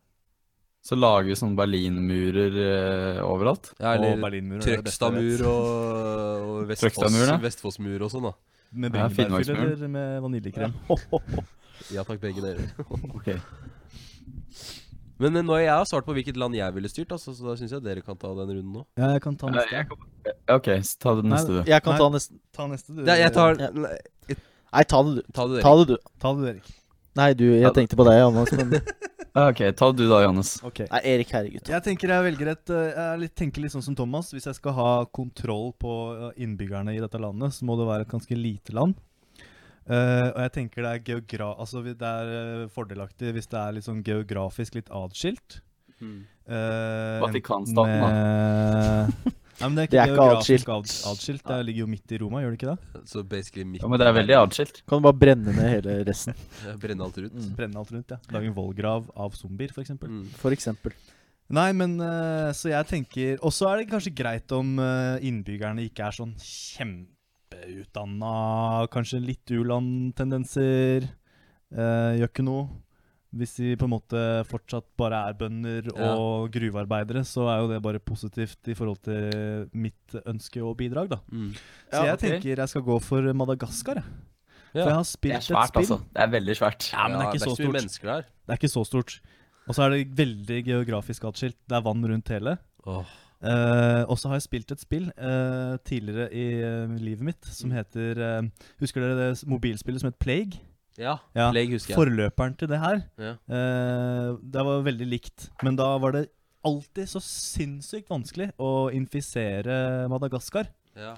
C: så lager vi sånne berlinmurer eh, overalt.
B: ja,
A: og
B: eller
A: Berlinmuren er det beste jeg vet.
B: Trøgstadmur og, og
C: Trøgstadmur,
B: Vestfoss-
C: ja.
B: Vestfossmur og sånn, da.
A: Med
C: Ja,
A: bringebærfyll
C: Finnmarksmuren.
A: eller med vaniljekrem.
B: Ja takk, begge dere.
C: Ok.
B: Men eh, nå har jeg svart på hvilket land jeg ville styrt, altså, så da syns jeg dere kan ta den runden nå.
A: Ja, jeg kan ta
C: Eh,
A: neste.
C: jeg kan- Ja, OK, så ta det neste, du.
D: Jeg kan
A: Nei.
D: ta nesten
A: Ta neste, du.
B: Ja, jeg tar
D: Ja.
B: Nei,
D: Nei, ta det, du.
B: Ta det, dere.
D: Ta det, du.
A: Ta det, Erik.
D: Nei, du, jeg
C: Ja, da-
D: tenkte på deg, Johannes. Men...
C: Ja, OK, ta du da, Johannes.
A: Ok.
D: Nei, Erik, herregud.
A: Jeg tenker jeg velger et eh, Jeg litt, tenker litt sånn som Thomas. Hvis jeg skal ha kontroll på eh, innbyggerne i dette landet, så må det være et ganske lite land. Eh, og jeg tenker det er geogra... Altså vi- det er eh, fordelaktig hvis det er litt sånn geografisk litt atskilt.
B: Mm.
A: Eh,
C: Vatikanstaten, da.
A: enten med- Nei, men det er ikke,
D: Det er ikke
A: geografisk
D: atskilt.
A: ad- atskilt. Det ligger jo midt i Roma, gjør det ikke det?
B: Så basically midt
C: Ja, men det er veldig atskilt.
D: Kan du bare brenne ned hele resten,
B: Jeg brenner alt rundt.
D: Mm.
A: Brenne alt rundt, ja. Lage en vollgrav av zombier, f.eks.
B: Mm.
D: for eksempel.
A: Nei, men eh, så jeg tenker Og så er det kanskje greit om eh, innbyggerne ikke er sånn kjempeutdanna, kanskje litt u-land-tendenser. eh, gjør ikke noe. Hvis de på en måte fortsatt bare er bønder
B: Ja.
A: og gruvearbeidere, så er jo det bare positivt i forhold til mitt ønske og bidrag, da.
B: Mm.
A: Så
C: Ja,
A: jeg
C: ok.
A: tenker jeg skal gå for Madagaskar, jeg.
B: Ja.
A: For jeg har
C: Det
A: spilt
C: er svært,
A: et spill.
C: altså. Det er veldig svært.
A: Ja, men det er ikke så
B: mye
A: stort.
B: mennesker der.
A: Det er ikke så stort. Og så er det veldig geografisk atskilt. Det er vann rundt hele.
B: Åh.
A: Eh, og så har jeg spilt et spill eh, tidligere i eh, livet mitt som
B: Mm.
A: heter eh, Husker dere det s- mobilspillet som het Plague?
B: Ja.
A: Ja,
B: Legg husker jeg.
A: Forløperen til det her.
B: Ja.
A: Eh, det var veldig likt. Men da var det alltid så sinnssykt vanskelig å infisere Madagaskar.
B: Ja.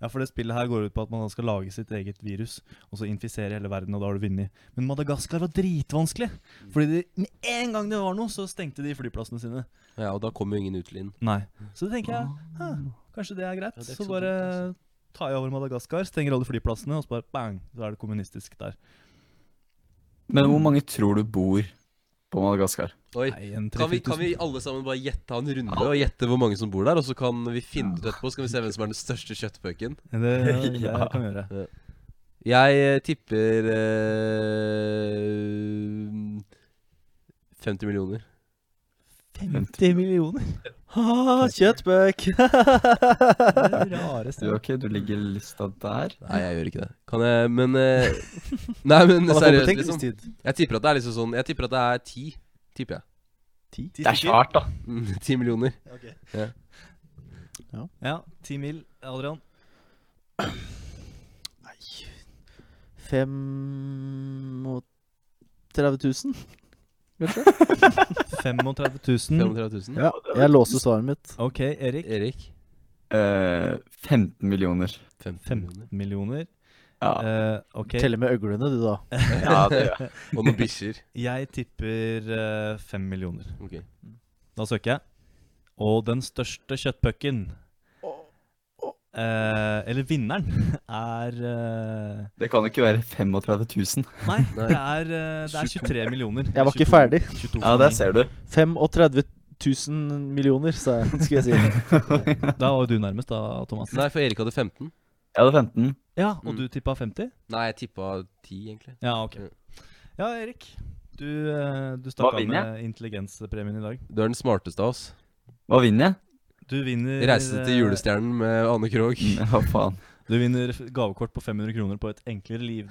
A: Ja, for det spillet her går ut på at man skal lage sitt eget virus, og så infisere hele verden, og da har du vunnet. Men Madagaskar var dritvanskelig!
B: Mm.
A: Fordi de, med en gang det var noe, så stengte de flyplassene sine.
B: Ja, og da kommer jo ingen utlyn.
A: Nei. Så da tenker jeg «Hæ, kanskje det er greit.
B: Ah. Ja, det er ikke
A: så
B: så
A: bare
B: dumt, altså.
A: tar jeg over Madagaskar, stenger alle flyplassene, og så bare bang, så er det kommunistisk der.
C: Men hvor mange tror du bor på Madagaskar?
B: Oi.
A: Nei, en
B: Kan vi, kan
A: 3000.
B: vi alle sammen bare gjette ha en runde og gjette hvor mange som bor der? Og så kan vi finne ut etterpå, så kan vi se hvem som er den største kjøttpøken.
A: Det, det
C: Ja.
A: kan vi gjøre.
B: Jeg eh, tipper eh, 50 millioner.
A: 50 millioner?
D: Ah, kjøttbøk!
A: Det er det rareste.
C: Du, ok, du ligger lista der.
B: Nei, jeg gjør ikke det. Kan jeg Men eh, Nei, men seriøst, liksom. Jeg tipper at det er liksom sånn Jeg tipper at det er ti. Tipper jeg.
C: Det er svært, da.
B: Mm, Ti millioner.
A: Ja, 10 mil, Adrian.
D: Nei 35 000?
A: 35
C: Mm.
A: 000.
B: 35 000.
D: Ja, jeg låser svaret mitt.
A: Ok, Erik.
B: Erik.
C: Eh, 15 millioner.
B: 15
A: 15
B: millioner.
A: millioner.
C: Ja,
A: Eh, ok,
D: Teller med øglene, du, da.
C: ja det gjør jeg.
B: Og noen bikkjer.
A: jeg tipper eh, 5 millioner.
B: Ok.
A: Da søker jeg. Og den største kjøttpucken eh, Eller vinneren er eh,
C: Det kan jo ikke være 35 000.
A: Nei, det er, eh, det er 23 millioner.
D: Jeg var ikke ferdig.
A: 22,
C: Ja, der ser du.
D: 35 000 millioner, sa jeg. Skulle jeg si.
A: Da var jo du nærmest, da, Thomas.
B: Nei, for Erik hadde 15.
C: Jeg hadde 15.
A: Ja, Og
B: Mm.
A: du tippa 50?
B: Nei, jeg tippa 10, egentlig.
A: Ja, ok.
B: Mm.
A: Ja, Erik. Du, eh, du stakk av
C: vinner
A: med intelligenspremien i dag.
B: Du er den smarteste av oss.
C: Hva vinner jeg?
A: Du vinner
B: Reise til
A: eh,
B: julestjernen med Anne Krogh.
C: Hva faen?
A: Du vinner f- gavekort på 500 kroner på et enklere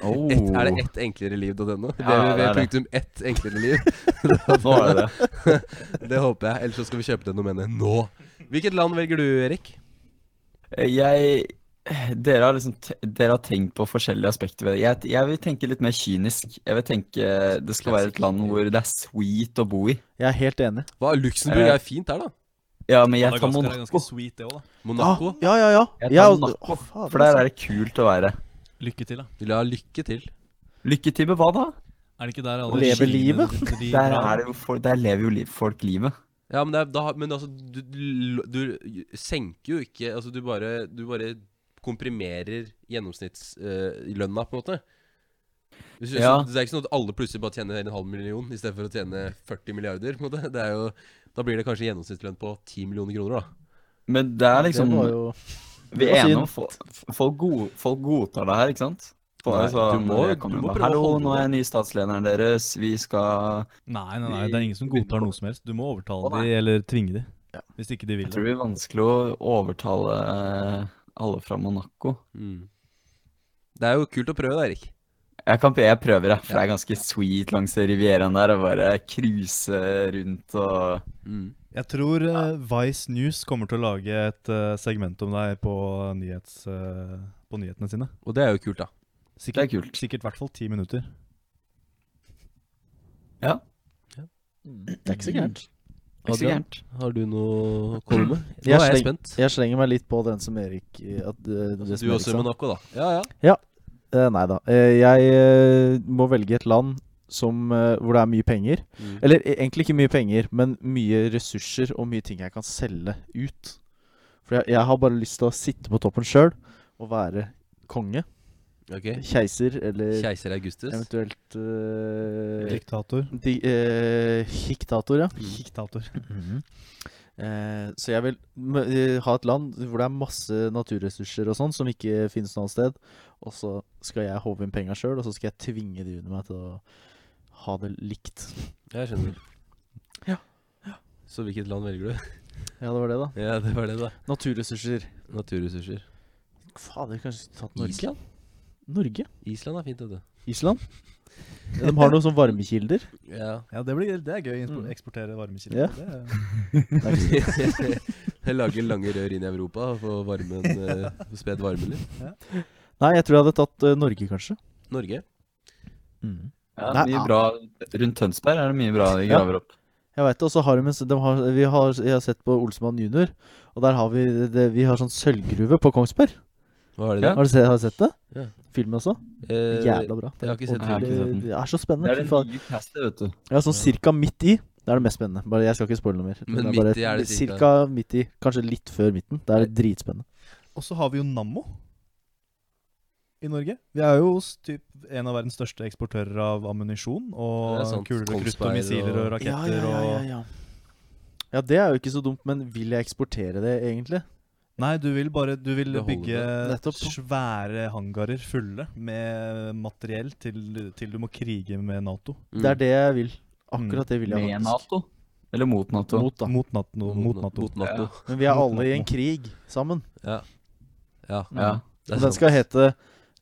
C: Oh.
B: Et, er det ett enklere liv.no?
C: Ja, det er det.
B: Punktum ett enklere liv.
C: Nå er det det.
B: Det håper jeg. Ellers så skal vi kjøpe det domenet nå. Hvilket land velger du, Erik?
C: Jeg dere har, liksom, te- dere har tenkt på forskjellige aspekter ved det. Jeg, jeg vil tenke litt mer kynisk. Jeg vil tenke det skal være et land hvor det er sweet å bo i.
D: Jeg er helt enig.
B: Hva, Luxembourg
C: Eh,
B: er fint her, da.
C: Ja, men jeg tar
A: Madagaskar er
C: Monaco.
A: ganske sweet, det òg, da.
B: Monaco.
C: Ah.
D: Ja, ja, ja.
C: Jeg tar
D: Ja,
C: Monaco,
D: å, faen, altså.
C: For der er det kult å være.
A: Lykke til, da.
B: Vil du ha lykke til?
C: Lykke til med hva da?
A: Er det ikke der alle
D: Leve
A: regimene
D: livet?
A: dri- driver
C: Der,
A: av?
C: er det jo folk, der lever jo li- folk livet.
B: Ja, men, det er, da, men altså, du, du, du senker jo ikke Altså, du bare, du bare komprimerer gjennomsnittslønna, på en måte. Du synes,
C: Ja.
B: Det er ikke sånn at alle plutselig bare tjener en halv million i stedet for å tjene 40 milliarder. på en måte. Det er jo, da blir det kanskje gjennomsnittslønn på 10 millioner kroner, da.
C: Men det er liksom
D: Det var jo
C: Vi
D: det var
C: er enige om
D: synd.
C: folk, folk, god, folk godtar det her, ikke sant? Folk er
B: Nei,
C: sånn,
B: du må-
C: jeg kommer
B: du må
C: bare,
B: prøve å
C: Hallo,
B: holde
C: nå er
B: det.
C: jeg ny statslederen deres. Vi skal
A: Nei, nei, nei, det er ingen som godtar noe som helst. Du må overtale
C: Å, nei.
A: de eller tvinge de. Hvis ikke de vil
C: Jeg
A: det.
C: tror det blir vanskelig å overtale alle fra Monaco.
B: Mm. Det er jo kult å prøve, da, Erik.
C: Jeg, kan, jeg prøver, jeg, for det er ganske sweet langs Rivieraen der. Å bare cruise rundt og
B: Mm.
A: Jeg tror eh, Vice News kommer til å lage et eh, segment om deg på, nyhets, eh, på nyhetene sine.
B: Og det er jo kult, da.
C: Det er
A: Sikkert
C: kult.
A: sikkert i hvert fall ti minutter.
D: Det er ikke så
C: Mm.
D: gærent.
C: Ikke så
B: Adrian,
C: gærent.
B: har du noe å komme med? Nå
D: Jeg
B: er jeg
D: sleng-
B: spent.
D: Jeg slenger meg litt på den som Erik eh, at, eh, det som
B: Altså, Du også
D: Erik sa.
B: i Monaco, da. Ja, ja.
D: Eh, Nei da. Eh, Jeg eh, må velge et land som, eh, hvor det er mye penger.
B: Mm.
D: Eller eh, egentlig ikke mye penger, men mye ressurser og mye ting jeg kan selge ut. For jeg, jeg har bare lyst til å sitte på toppen sjøl og være konge.
B: Ok.
D: Keiser eller
B: Keiser Augustus.
D: eventuelt eh,
A: Diktator.
D: di, eh, Diktator, ja.
C: Mm.
A: Diktator.
D: Eh, så jeg vil m eh, ha et land hvor det er masse naturressurser og sånn som ikke finnes noe annet sted. Og så skal jeg håve inn penga sjøl, og så skal jeg tvinge de under meg til å ha det likt.
B: Jeg skjønner.
D: Ja.
B: Så hvilket land velger du?
D: Ja, det var det, da.
B: Ja, det var det, da.
D: Naturressurser.
B: Naturressurser.
D: Fader, kanskje skulle tatt Norge?
B: Island?
D: Norge?
B: Island er fint, vet du.
D: Island? Ja, de har noen sånne varmekilder.
B: Ja.
A: Ja, det, blir, det er gøy. å
D: Mm.
A: Eksportere varmekilder.
D: Ja.
A: Det er-
B: Jeg lager lange rør inn i Europa for varmen eh, for Spedd varmen litt.
D: Nei, jeg tror jeg hadde tatt eh, Norge, kanskje.
B: Norge.
C: Ja,
D: Nei,
C: mye
D: ja.
C: bra. Rundt Tønsberg er det mye bra de
D: Ja.
C: graver opp.
D: Jeg vet det, og så har de, en s- de har, vi har, Jeg har sett på Olsemann junior, og der har vi det, Vi har sånn sølvgruve på Kongsberg.
B: Hva er det
C: Ja.
B: der?
D: Har du sett, har du sett det?
B: Ja.
D: Filmen også?
B: Eh,
D: Jævla bra.
B: jeg har ikke sett
D: Og
C: den. Jeg har ikke sett den.
D: Det er så
C: Det
D: spennende.
C: er
D: fy
C: det
D: faen.
C: nye castet, vet du.
D: Ja, sånn cirka midt i. Det er det mest spennende. Bare, jeg skal ikke spoile noe mer.
B: Men
D: er bare
B: midt i er det cirka.
D: Cirka midt i. Kanskje litt før midten. Det er dritspennende.
A: Og så har vi jo Nammo i Norge. Vi er jo s- typ en av verdens største eksportører av ammunisjon
B: Det er
A: og
B: sant.
A: kuler og krutt og
B: Kongsberg
A: missiler og
B: og-
A: raketter og
D: ja. Ja, det er jo ikke så dumt, men vil jeg eksportere det, egentlig?
A: Nei, du vil bare du vil
B: Beholde
A: bygge
D: det. Nettopp.
A: svære hangarer fulle med materiell til, til du må krige med Nato.
B: Mm.
D: Det er det jeg vil. Akkurat det vil jeg
C: Med
D: faktisk.
C: Nato. Eller mot Nato.
D: Mot, da.
A: Mot Nato. Mot Nato.
B: Mm. Mot NATO.
D: Men vi er
A: mot
D: alle i en
A: NATO.
D: krig sammen.
B: Ja.
C: Ja.
B: det er
D: Og den
B: sant.
D: skal hete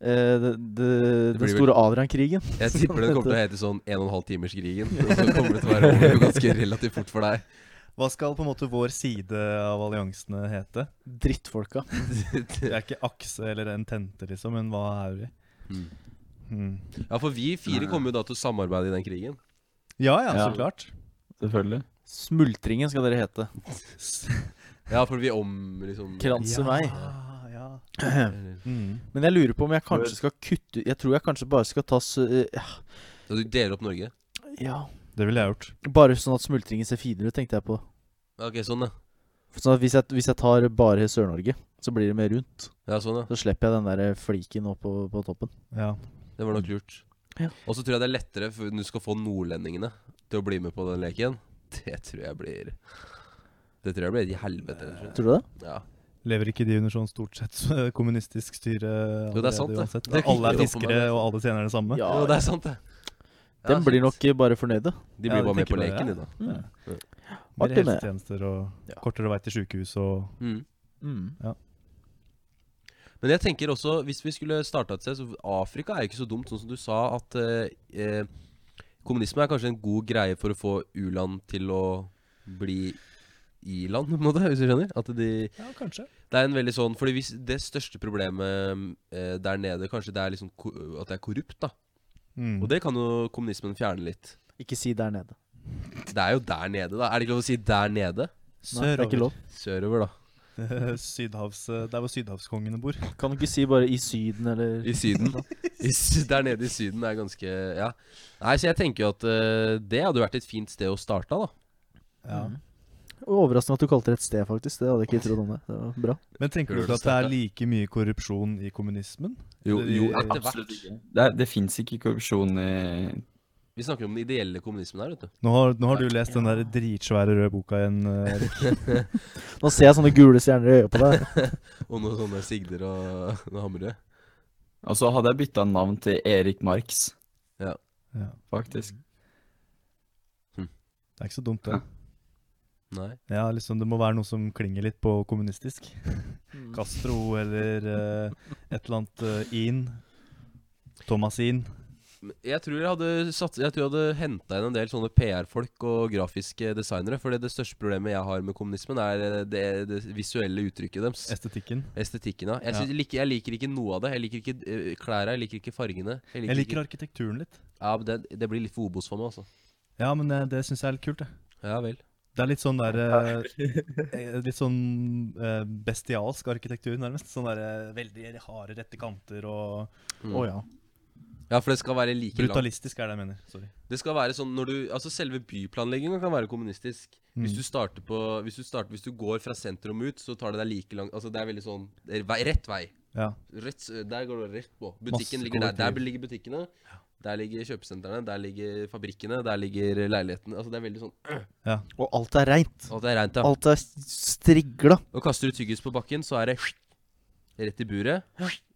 D: eh, det, det,
B: Det blir
D: Den
B: vel-
D: store Adrian-krigen.
B: Jeg tipper den kommer til å hete sånn 1 12 timers krigen. Og så kommer det til å være over ganske relativt fort for deg.
A: Hva skal på en måte vår side av alliansene hete?
D: Drittfolka.
A: Det er ikke akse eller en tente, liksom, men hva er vi?
B: Mm.
A: Hmm.
B: Ja, for vi fire kommer jo da til å samarbeide i den krigen.
A: Ja, ja, så
C: Ja.
A: klart.
C: Selvfølgelig.
D: Smultringen skal dere hete.
B: Ja, for vi om liksom
D: Kranse
A: ja,
D: meg.
A: Ja. Mm.
D: Men jeg lurer på om jeg kanskje skal kutte Jeg tror jeg kanskje bare skal ta s- eh,
B: Så du deler opp Norge?
D: Ja.
A: Det ville jeg gjort.
D: Bare sånn at smultringen ser finere ut, tenkte jeg på.
B: Ok, sånn, ja.
D: Sånn at hvis jeg, hvis jeg tar bare Sør-Norge, så blir det mer rundt.
B: Ja, sånn, ja.
D: Så slipper jeg den der eh, fliken opp på, på toppen.
A: Ja.
B: Det var nok lurt.
D: Mm. Ja.
B: Og så tror jeg det er lettere for du skal få nordlendingene til å bli med på den leken. Det tror jeg blir Det tror jeg blir i helvete. rett og slett.
D: Tror du det?
B: Ja.
A: Lever ikke de under sånn stort sett kommunistisk styre?
B: Jo, det er sant,
A: allerede
B: det.
A: uansett?
B: Det er ikke
A: alle er
B: helt opp for meg,
A: fiskere,
B: det.
A: og alle tjener det samme?
B: Jo, det er sant, det. Ja,
D: Den blir
B: shit.
D: nok eh, bare
B: De
D: fornøyde.
A: Ja,
B: blir
A: de
B: bare med
A: tenker
B: på
A: bare, ja.
B: leken, de, da.
D: Mm.
A: Mer
D: Artig med.
A: helsetjenester og
D: Ja.
A: kortere vei til sjukehus og
B: Mm.
D: Mm.
B: Men jeg tenker også, hvis vi skulle starta et sted så Afrika er jo ikke så dumt, sånn som du sa, at eh, eh, kommunisme er kanskje en god greie for å få u-land til å bli i-land, på en måte, hvis du skjønner? At de,
A: Ja, kanskje.
B: det er en veldig sånn Fordi hvis det største problemet eh, der nede, kanskje det er liksom ko- at det er korrupt, da.
A: Mm.
B: Og det kan jo kommunismen fjerne litt.
D: Ikke si der nede.
B: Det er jo der nede, da. Er det ikke lov å si 'der nede'?
D: Nei, det er ikke lov.
B: Sørover, da.
A: Sydhavs, eh, der hvor sydhavskongene bor.
D: Kan du ikke si bare i Syden eller
B: I Syden. I, sy- der nede i Syden er ganske Ja. Nei, så jeg tenker jo at eh, det hadde vært et fint sted å starte, da.
A: Ja.
D: Mm. Overraskende at du kalte det et sted, faktisk. Det hadde jeg ikke trodd om det. Det var bra.
A: Men tenker du
B: Burde
A: ikke at det er
B: starte.
A: like mye korrupsjon i kommunismen?
B: Jo,
A: Eller i-
B: jo, etter
C: Absolutt
B: hvert.
C: ikke. Det, er- det fins ikke korrupsjon i
B: Vi snakker om den ideelle kommunismen her, vet du.
A: Nå har, nå har du lest den der dritsvære røde boka igjen. eh, Erik.
D: Nå ser jeg sånne gule stjerner i øyet på deg.
B: Og noen sånne sigder og noen hamre.
C: Og så Altså, hadde jeg bytta navn til Erik Marx,
A: Ja.
C: faktisk.
A: Det er ikke så dumt, det.
B: Nei.
A: Ja, liksom, det må være noe som klinger litt på kommunistisk.
B: Mm.
A: Castro eller eh, et eller annet eh, In. Thomasin.
B: Men Jeg tror jeg hadde, satt, jeg tror jeg hadde henta inn en del sånne PR-folk og grafiske designere. For det største problemet jeg har med kommunismen, er eh, det, det visuelle uttrykket deres.
A: Estetikken.
B: Estetikken, da. Jeg, synes- jeg liker, jeg liker ikke noe av det. Jeg liker ikke eh, klærne, jeg liker ikke fargene.
A: Jeg liker
B: ikke,
A: arkitekturen litt.
B: ja, men det, det blir litt for Obos for meg, altså.
A: Ja, men eh, det syns jeg er litt kult, det.
B: Ja vel.
A: Det er litt sånn der eh, eh, Litt sånn eh, bestialsk arkitektur, nærmest. Sånn der eh, veldig harde, rette kanter og
B: Mm.
D: Å ja.
B: Ja, for det skal være like langt.
A: Brutalistisk er det jeg mener. Sorry.
B: Det skal være sånn når du Altså selve byplanlegginga kan være kommunistisk.
D: Mm.
B: Hvis du starter på hvis du, starter, hvis du går fra sentrum ut, så tar det deg like langt Altså det er veldig sånn det er vei, Rett vei.
A: Ja.
B: Rett, s- der går det rett på.
A: Masse
B: Butikken ligger der. Der
A: kollektiv.
B: ligger butikkene. Der ligger kjøpesentrene. Der ligger fabrikkene. Der ligger leilighetene. Altså det er veldig sånn
D: Og alt er reint.
B: Å, det er reint, ja.
D: Alt er strigla.
B: Og kaster du tyggis på bakken, så er det rett i buret.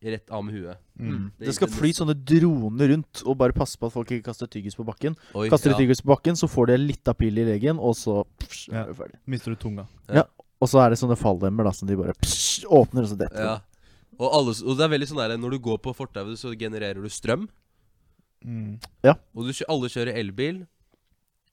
B: Rett av med huet.
A: Mm.
B: er
D: Det skal
B: ikke
D: fly sånne droner rundt og bare passe på at folk ikke kaster tyggis på bakken.
B: Oi,
D: Kaster de
B: ja.
D: tyggis på bakken, så får de litt av pil i leggen, og så psh,
A: Ja.
D: er du ferdig.
A: Mister du tunga.
D: Og så er det sånne fallemmer da, som de bare psh, åpner, og så detter
B: Ja.
D: de.
B: Og, alle, s- og det er veldig sånn der, når du går på fortauet, så genererer du strøm.
A: Mm.
B: Og du, kjø- alle kjører elbil.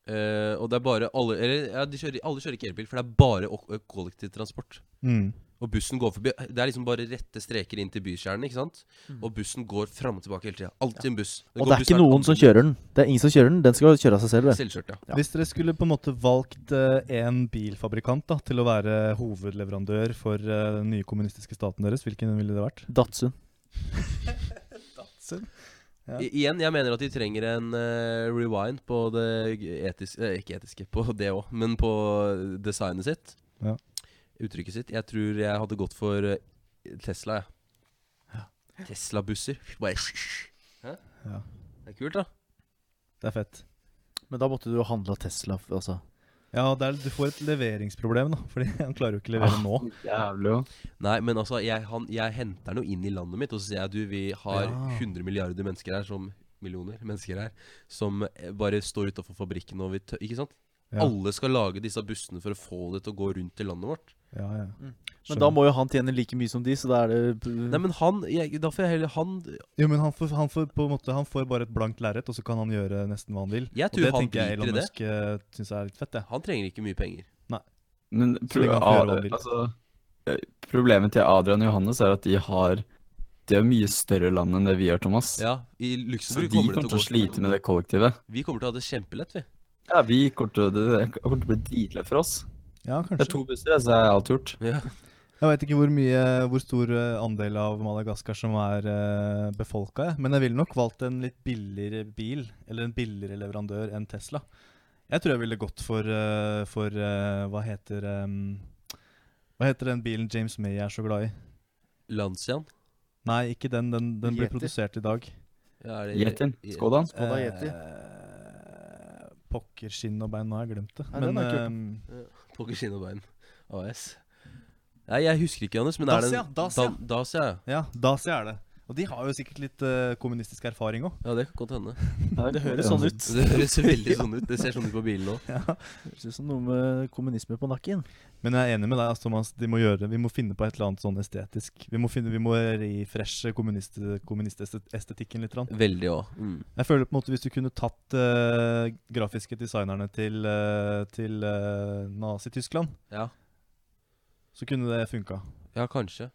B: eh, og det er bare alle Eller ja, de kjører, alle kjører ikke elbil, for det er bare ok- kollektivtransport.
A: Mm.
B: Og bussen går forbi. Det er liksom bare rette streker inn til bykjernen. ikke sant? Og bussen går fram og tilbake hele tida. Alltid en buss.
D: Mm. Og det er ikke noen som kjører den. Det er ingen som kjører den. Den skal kjøre av seg selv. det.
B: Selvkjørt, ja.
D: Ja.
A: Hvis dere skulle på en måte valgt én bilfabrikant da, til å være hovedleverandør for eh, den nye kommunistiske staten deres, hvilken ville det vært?
D: Datsun.
A: Ja.
B: I, igjen, jeg mener at de trenger en eh, rewind på det g- etiske eh, Ikke etiske, på det òg, men på designet sitt.
A: Ja.
B: Uttrykket sitt. Jeg tror jeg hadde gått for eh, Tesla, jeg. Tesla-busser. Bare Hæ?
A: Ja.
B: Det er kult, da.
A: Det er fett.
D: Men da måtte du jo handla Tesla, f- altså.
A: Ja, det er, du får et leveringsproblem, da, fordi han klarer jo ikke levere
B: Ah.
A: nå.
C: Jævlig òg.
B: Nei, men altså, jeg, han, jeg henter den jo inn i landet mitt, og så sier jeg du, vi har
A: Ja.
B: 100 milliarder mennesker her, som millioner mennesker her, som eh, bare står utafor fabrikken og vi tø Ikke sant?
A: Ja.
B: Alle skal lage disse bussene for å få det til å gå rundt i landet vårt.
A: Ja, ja.
D: Men da må jo han tjene like mye som de, så da er det
B: Nei, men han jeg, Da får jeg heller Han
A: Jo, men han får, han, får på en måte, han får bare et blankt lerret, og så kan han gjøre nesten hva han vil.
B: Jeg
A: og
B: tror
A: det
B: han
A: tenker jeg
B: driter i
A: Elon
B: det.
A: Musk eh, syns er litt fett, jeg.
B: Han trenger ikke mye penger.
C: Men
A: Så lenge
C: pro
A: han får gjøre hva han vil.
C: altså, eh, problemet til Adrian og Johannes er at de har De har mye større land enn det vi har, Thomas.
B: Ja, I
C: så de
B: Luxembourg
C: kommer
B: kommer det
C: til å
B: gå
C: slite med det kollektivet.
B: Vi kommer til å ha det kjempelett, vi.
C: Ja, vi kommer til, å- det, det kommer til å bli dritlett for oss.
A: Ja,
C: Det er
A: kanskje.
C: to busser, så er alt gjort.
B: Ja.
A: Jeg veit ikke hvor, mye, hvor stor eh, andel av Madagaskar som er uh, befolka, jeg. Men jeg ville nok valgt en litt billigere bil, eller en billigere leverandør enn Tesla. Jeg tror jeg ville gått for, eh, for eh, hva heter em, Hva heter den bilen James May er så glad i?
B: Lancian.
A: Nei, ikke den. Den, den ble
D: Yeti.
A: produsert i dag.
B: Ja, er det-
C: Yetin.
B: i-
C: Skoda.
D: Skoda Yeti.
A: Eh, Pokker, skinn og bein, nå har jeg glemt det.
D: Nei, den er kult.
A: ehm,
B: Pokker skinn og bein. AS. Nei, jeg husker ikke, Johannes, men er
A: Dacia,
B: det en-
A: Dacia.
B: Da- Dacia, ja.
A: ja, Dacia er det. Og de har jo sikkert litt eh, kommunistisk erfaring òg.
B: Ja, det kan godt hende.
D: Det høres sånn ut.
B: Det høres veldig sånn ut. Det ser sånn ut på bilen nå.
D: Høres ut som noe med kommunisme på nakken.
A: Men jeg er enig med deg, altså, Thomas. De må gjøre, vi må finne på et eller annet sånn estetisk. Vi må, finne, vi må refreshe kommunist, kommunistestetikken litt. grann.
B: Veldig òg. Mm.
A: Jeg føler på en måte Hvis du kunne tatt eh, grafiske designerne til, eh, til eh, Nazi-Tyskland,
B: Ja.
A: så kunne det funka.
B: ja, kanskje.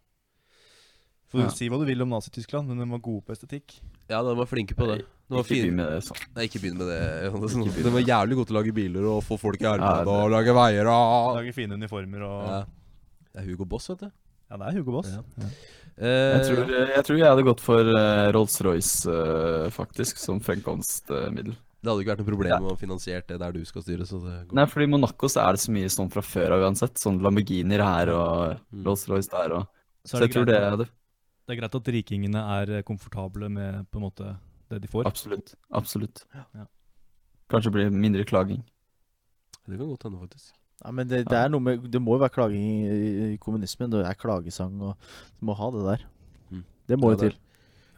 A: For
C: Ja.
A: Si hva du vil om Nazi-Tyskland, men de var gode på estetikk.
B: Ja, de var flinke på det. De var
C: Ikke
B: fine.
C: by med det sånn.
B: Nei, ikke begynn med det. Johannes. De var jævlig gode til å lage biler og få folk i arbeid
C: det-
B: og lage veier og
A: Lager fine uniformer og
B: ja.
A: Ja,
B: Det er Hugo Boss, vet du.
A: det er Hugo Boss.
B: Ja.
A: Ja.
B: Eh,
C: Jeg tror, jeg tror jeg hadde gått for eh, Rolls-Royce, eh, faktisk, som eh, fremkomstmiddel.
B: Det hadde ikke vært noe problem å finansiere det der du skal styre. Så det går.
C: Nei, fordi i Monaco så er det så mye sånn fra før av uansett. Sånn Lamborghinier her og
B: Mm.
C: Rolls-Royce der og
A: Så
C: Så
A: er det,
C: jeg tror
A: greit,
C: det er det.
A: at- det er greit at rikingene er eh, komfortable med på en måte det de får.
C: Absolutt. Absolutt.
A: Ja.
C: Kanskje blir det mindre klaging.
B: Det kan godt hende, faktisk.
D: Ja, men det, det er noe med Det må jo være klaging i, i- i kommunismen. Det er klagesang og Du må ha det der.
B: Mm.
D: Det
B: Ja,
D: må jo
B: det er-
D: til.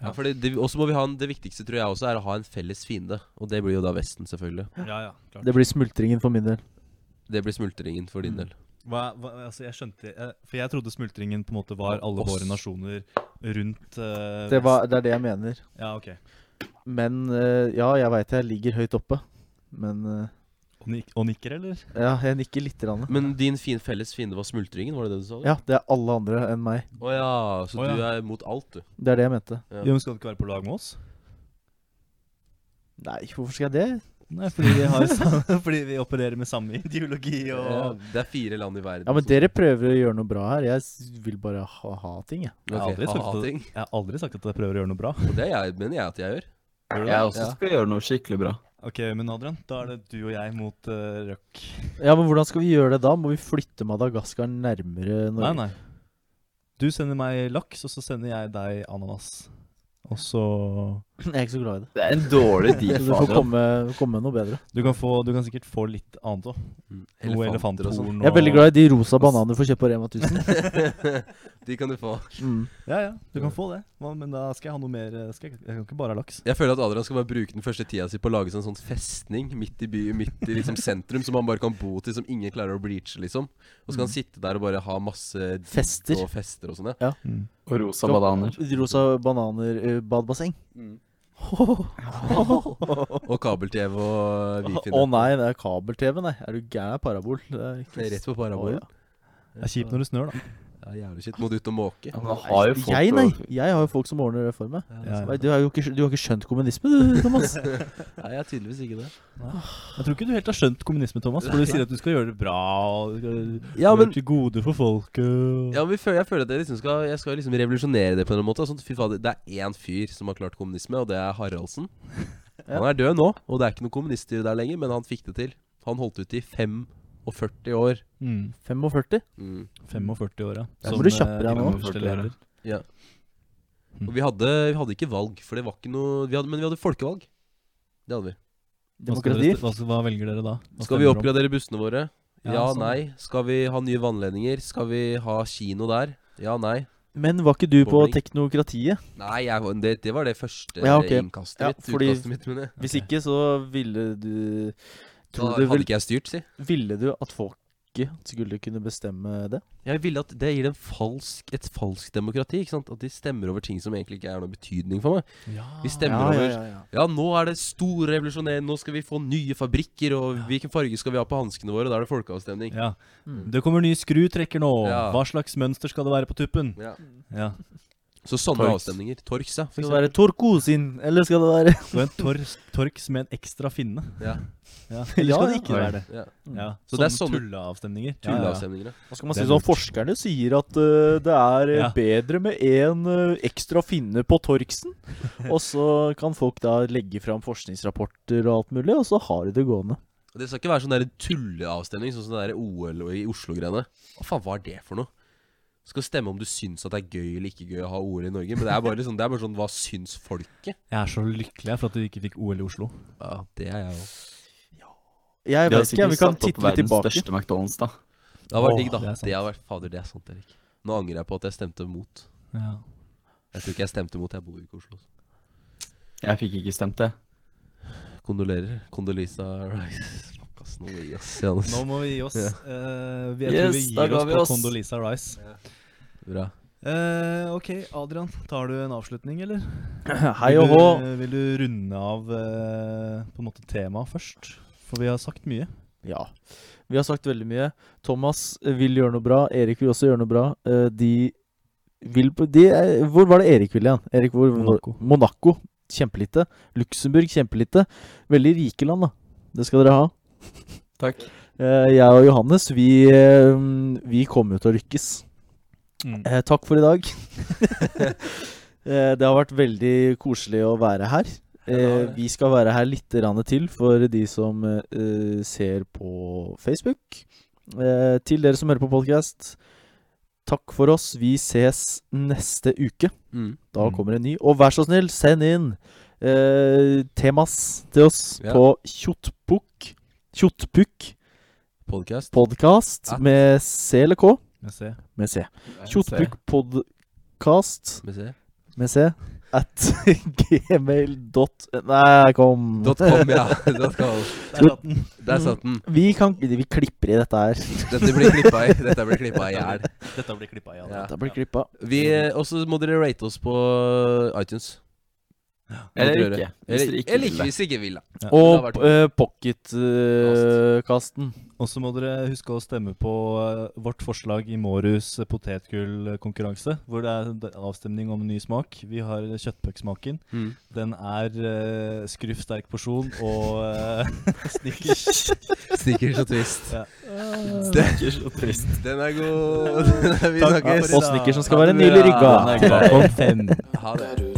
B: Ja, for det, det, også må vi ha en, det viktigste tror jeg også er å ha en felles fiende. Og det blir jo da Vesten, selvfølgelig.
A: Ja, ja, klart.
D: Det blir smultringen for min del.
B: Det blir smultringen for din del.
A: Hva, hva, altså jeg skjønte jeg, For jeg trodde smultringen på en måte var alle
B: Oss.
A: våre nasjoner rundt eh,
D: Det, var,
A: vest.
D: det er det jeg mener.
A: Ja, ok.
D: Men eh, ja, jeg veit jeg ligger høyt oppe. Men eh,
A: Og, nik og nikker, eller?
D: ja, jeg nikker lite grann.
B: Men din fin, felles fiende var smultringen, var det det du sa? du?
D: Ja, det er alle andre enn meg.
B: Å ja, så
A: Å ja.
B: du er mot alt, du.
D: Det er det jeg mente.
B: Ja.
A: Jo, men Skal du ikke være på lag med oss?
D: Nei, hvorfor skal jeg det?
A: Nei, fordi vi, har, sam- fordi vi opererer med samme ideologi og
B: Ja, det er fire land i verden.
D: Ja, men
B: som-
D: dere prøver å gjøre noe bra her. Jeg s- vil bare ha, ha ting, jeg.
A: Jeg har
B: Ok,
A: aldri sagt
B: ha-ha
A: at-
B: ting.
A: Jeg har aldri sagt at jeg prøver å gjøre noe bra.
B: Og det er jeg, mener jeg at jeg gjør.
C: Jeg også
B: Ja.
C: skal gjøre noe skikkelig bra.
A: Ok, men Adrian, da er det du og jeg mot uh, Røk.
D: Ja, men hvordan skal vi gjøre det da? Må vi flytte Madagaskar nærmere
A: Nei,
D: Norge?
A: nei. Du sender meg laks, og så sender jeg deg ananas. Og så
D: Jeg er ikke så glad i det.
C: Det er en dårlig deal,
D: Du får
C: fader.
D: komme, komme med noe bedre.
A: Du kan, få, du kan sikkert få litt annet òg. Noe
B: Mm. Elefanter og sånn.
A: elefanthorn
D: Jeg er veldig glad i de rosa bananene du får kjøpt på Rema 1000.
B: sånn. De kan du få.
D: Mm.
A: Ja, ja, du kan få det. Hva- Men da skal jeg ha noe mer eh, skal jeg, jeg kan ikke bare ha laks.
B: Jeg føler at Adrian skal bare bruke den første tida si på å lage seg en sånn festning midt i by, midt i liksom sentrum, som han bare kan bo til, som ingen klarer å bleache, liksom. Og så kan han sitte der og bare ha masse digg
D: Mm. Fester.
B: og fester og sånn, ja.
C: Og rosa bananer.
D: Rosa bananer, eh, badebasseng.
B: Og kabel-TV og
D: Å
B: Wifi.
D: nei, det er kabel-TV, nei. Er du gæren? Parabol. Det er ikke
B: Rett på parabolen.
D: Å,
A: Det er kjipt når det snør, da.
B: Det er jævlig shit. Må du ut og måke?
C: Ja, men da har jo folk
D: Jeg, nei.
C: å-
D: Jeg har jo folk som ordner det for meg.
B: Ja,
A: Ja,
D: Nei, Du har jo ikke, du har ikke skjønt kommunisme, du, Thomas.
B: Nei, jeg er tydeligvis ikke det.
A: Jeg tror ikke du helt har skjønt kommunisme, Thomas. For du sier at du skal gjøre det bra. Og du skal
B: Ja,
A: gjøre
B: men,
A: til gode for folket.
D: Mm.
A: og-
B: ja, men vi føler, jeg føler at jeg liksom skal, jeg skal liksom revolusjonere det på en eller annen måte. Sånn, fy fader, det er én fyr som har klart kommunisme, og det er Haraldsen.
D: Ja.
B: Han er død nå, og det er ikke noe kommuniststyre der lenger, men han fikk det til. Han holdt ut i 45 år.
A: Mm.
D: 45.
B: Mm.
A: 45 år, ja.
B: Ja,
A: Som,
D: må du
A: eh,
D: kjappe deg nå.
A: øverste leder.
B: Og vi hadde, vi hadde ikke valg, for det var ikke noe vi hadde, Men vi hadde folkevalg. Det hadde vi.
A: Hva, skal dere,
D: Demokrati.
A: hva, hva velger dere da? Hva
B: Skal vi
A: stemmer dere om?
B: oppgradere bussene våre? Ja,
A: Ja, sånn.
B: nei. Skal vi ha nye vannledninger? Skal vi ha kino der? Ja, nei.
D: Men var ikke du på
B: Bowling.
D: teknokratiet?
B: Nei, jeg, var- det, det var det første
D: Ja, ok.
B: innkastet
D: Ja,
B: mitt.
D: fordi-
B: Utkastet mitt, mener jeg.
D: Hvis
A: Ok.
D: ikke, så ville du
B: Da
D: Tror du
B: hadde
D: vel,
B: ikke jeg styrt, si.
D: Ville du at folket skulle kunne bestemme det?
B: Jeg ville at Det gir en falsk, et falskt demokrati. ikke sant? At de stemmer over ting som egentlig ikke er noe betydning for meg.
A: Ja.
B: Vi stemmer
D: Ja,
B: over
D: ja, ja, ja.
B: Ja, nå er det stor revolusjonering, nå skal vi få nye fabrikker, og hvilken farge skal vi ha på hanskene våre? Da er det folkeavstemning.
A: Ja.
D: Mm.
A: Det kommer ny skrutrekker nå.
B: Ja.
A: Hva slags mønster skal det være på tuppen?
B: Ja.
A: Ja.
B: Så sånne
D: Torx.
B: avstemninger. Torx, ja. for
D: Skal det
B: eksempel.
D: være Torkosin, eller skal det være
A: Og en torks, torks med en ekstra finne.
B: Ja.
A: Ja. Eller skal det ikke
D: Ja, ja.
A: være det?
B: Ja.
A: Ja.
B: Så det er sånne-
A: tulleavstemninger. Ja, ja, ja.
B: Tulleavstemninger, ja.
D: Hva skal
A: Det
D: man si
A: er lurt.
D: sånn? Forskerne sier at eh, det er eh,
A: Ja.
D: bedre med én ekstra finne på Torksen. og så kan folk da legge fram forskningsrapporter og alt mulig, og så har de det gående.
B: Og Det skal ikke være sånn der tulleavstemning, sånn som det der OL og i Oslo-greiene. Hva faen var det for noe? Skal stemme om du syns at det er gøy eller ikke gøy å ha OL i Norge, men det er bare, liksom, det er bare sånn Hva syns folket?
A: Jeg er så lykkelig jeg, for at du ikke fikk OL i Oslo.
B: Ja, det er jeg òg.
D: Jeg
C: De har
D: vet ikke,
C: sikkert
D: vi kan
C: satt opp
D: titte litt
C: verdens
D: tilbake.
C: største McDonald's, da.
B: Det har vært
A: Åh,
B: digg, da.
A: det er sant.
B: Det har vært, fader, det er sant, Erik. Nå angrer jeg på at jeg stemte mot.
A: Ja.
B: Jeg tror ikke jeg stemte mot, jeg bor ikke i Oslo. altså.
C: Jeg fikk ikke stemt det.
B: Kondolerer. Kondolisa Rice. Fuck, ass. Nå gir jeg oss. Johannes.
A: Nå må vi gi oss.
B: Ja.
A: Eh, vi, jeg tror
C: Yes,
A: vi
C: da
A: gir
C: ga
A: oss
C: vi
A: på
C: oss.
A: Condoleezza Rice.
B: Bra.
A: Eh, ok, Adrian. Tar du en avslutning, eller?
D: Hei og
A: Vil
D: hå.
A: du- Vil du runde av eh, på en måte temaet først? For vi har sagt mye.
D: Ja. Vi har sagt veldig mye. Thomas eh, vil gjøre noe bra. Erik vil også gjøre noe bra. Eh, de vil på de er, Hvor var det Erik ville igjen? Erik, hvor,
A: Monaco.
D: Monaco. Kjempelite. Luxembourg, kjempelite. Veldig rike land, da. Det skal dere ha.
C: Takk.
D: Eh, Jeg og Johannes, vi, eh, vi kommer jo til å lykkes.
B: Mm.
D: Eh, Takk for i dag. Eh, Det har vært veldig koselig å være her. Eh,
B: det.
D: Vi skal være her litt grann til for de som eh, ser på Facebook. Eh, Til dere som hører på podkast, takk for oss. Vi ses neste uke.
B: Mm.
D: Da
A: Mm.
D: kommer en ny. Og vær så snill, send inn eh, temas til oss
B: Ja.
D: på kjottpukk. Kjottpukk
B: Podcast.
D: podkast
B: At-
D: med C eller K?
A: Vi ser.
D: Med C. Kjotbruk podcast
B: Skal vi se.
D: med C at gmail dot Nei, kom.
B: Dot com, ja. Dot com.
A: Der satt den.
B: Der satt den.
D: Vi kan Vi klipper i dette her.
B: Dette blir klippa i Dette blir klippa i hjel.
A: Dette blir klippa i.
B: Ja.
D: Dette blir klippa.
B: Vi, og så må dere rate oss på eh, iTunes.
C: Eller
B: Dere-
C: ikke. Hvis dere ikke
B: eller
C: vil
B: ikke
C: det.
B: hvis dere ikke vil det.
A: Ja,
B: det
D: Og
B: har vært-
D: uh, pocketkasten.
A: Og så må dere huske å stemme på eh, vårt forslag i Mårus potetgullkonkurranse, hvor det er d- avstemning om ny smak. Vi har kjøttpøksmaken.
C: Mm.
A: Den er uh, skruff sterk porsjon og uh, snickers.
B: Snickers og twist.
A: Ja.
B: Snickers og twist. Den er god. Den er, vi
A: Takk
B: snakkes.
A: for i
D: og
A: dag.
D: snickers som
B: Ha
D: skal være
B: det bra.
D: nylig rygga.
B: Ha det.
A: Om fem.
B: Ha det.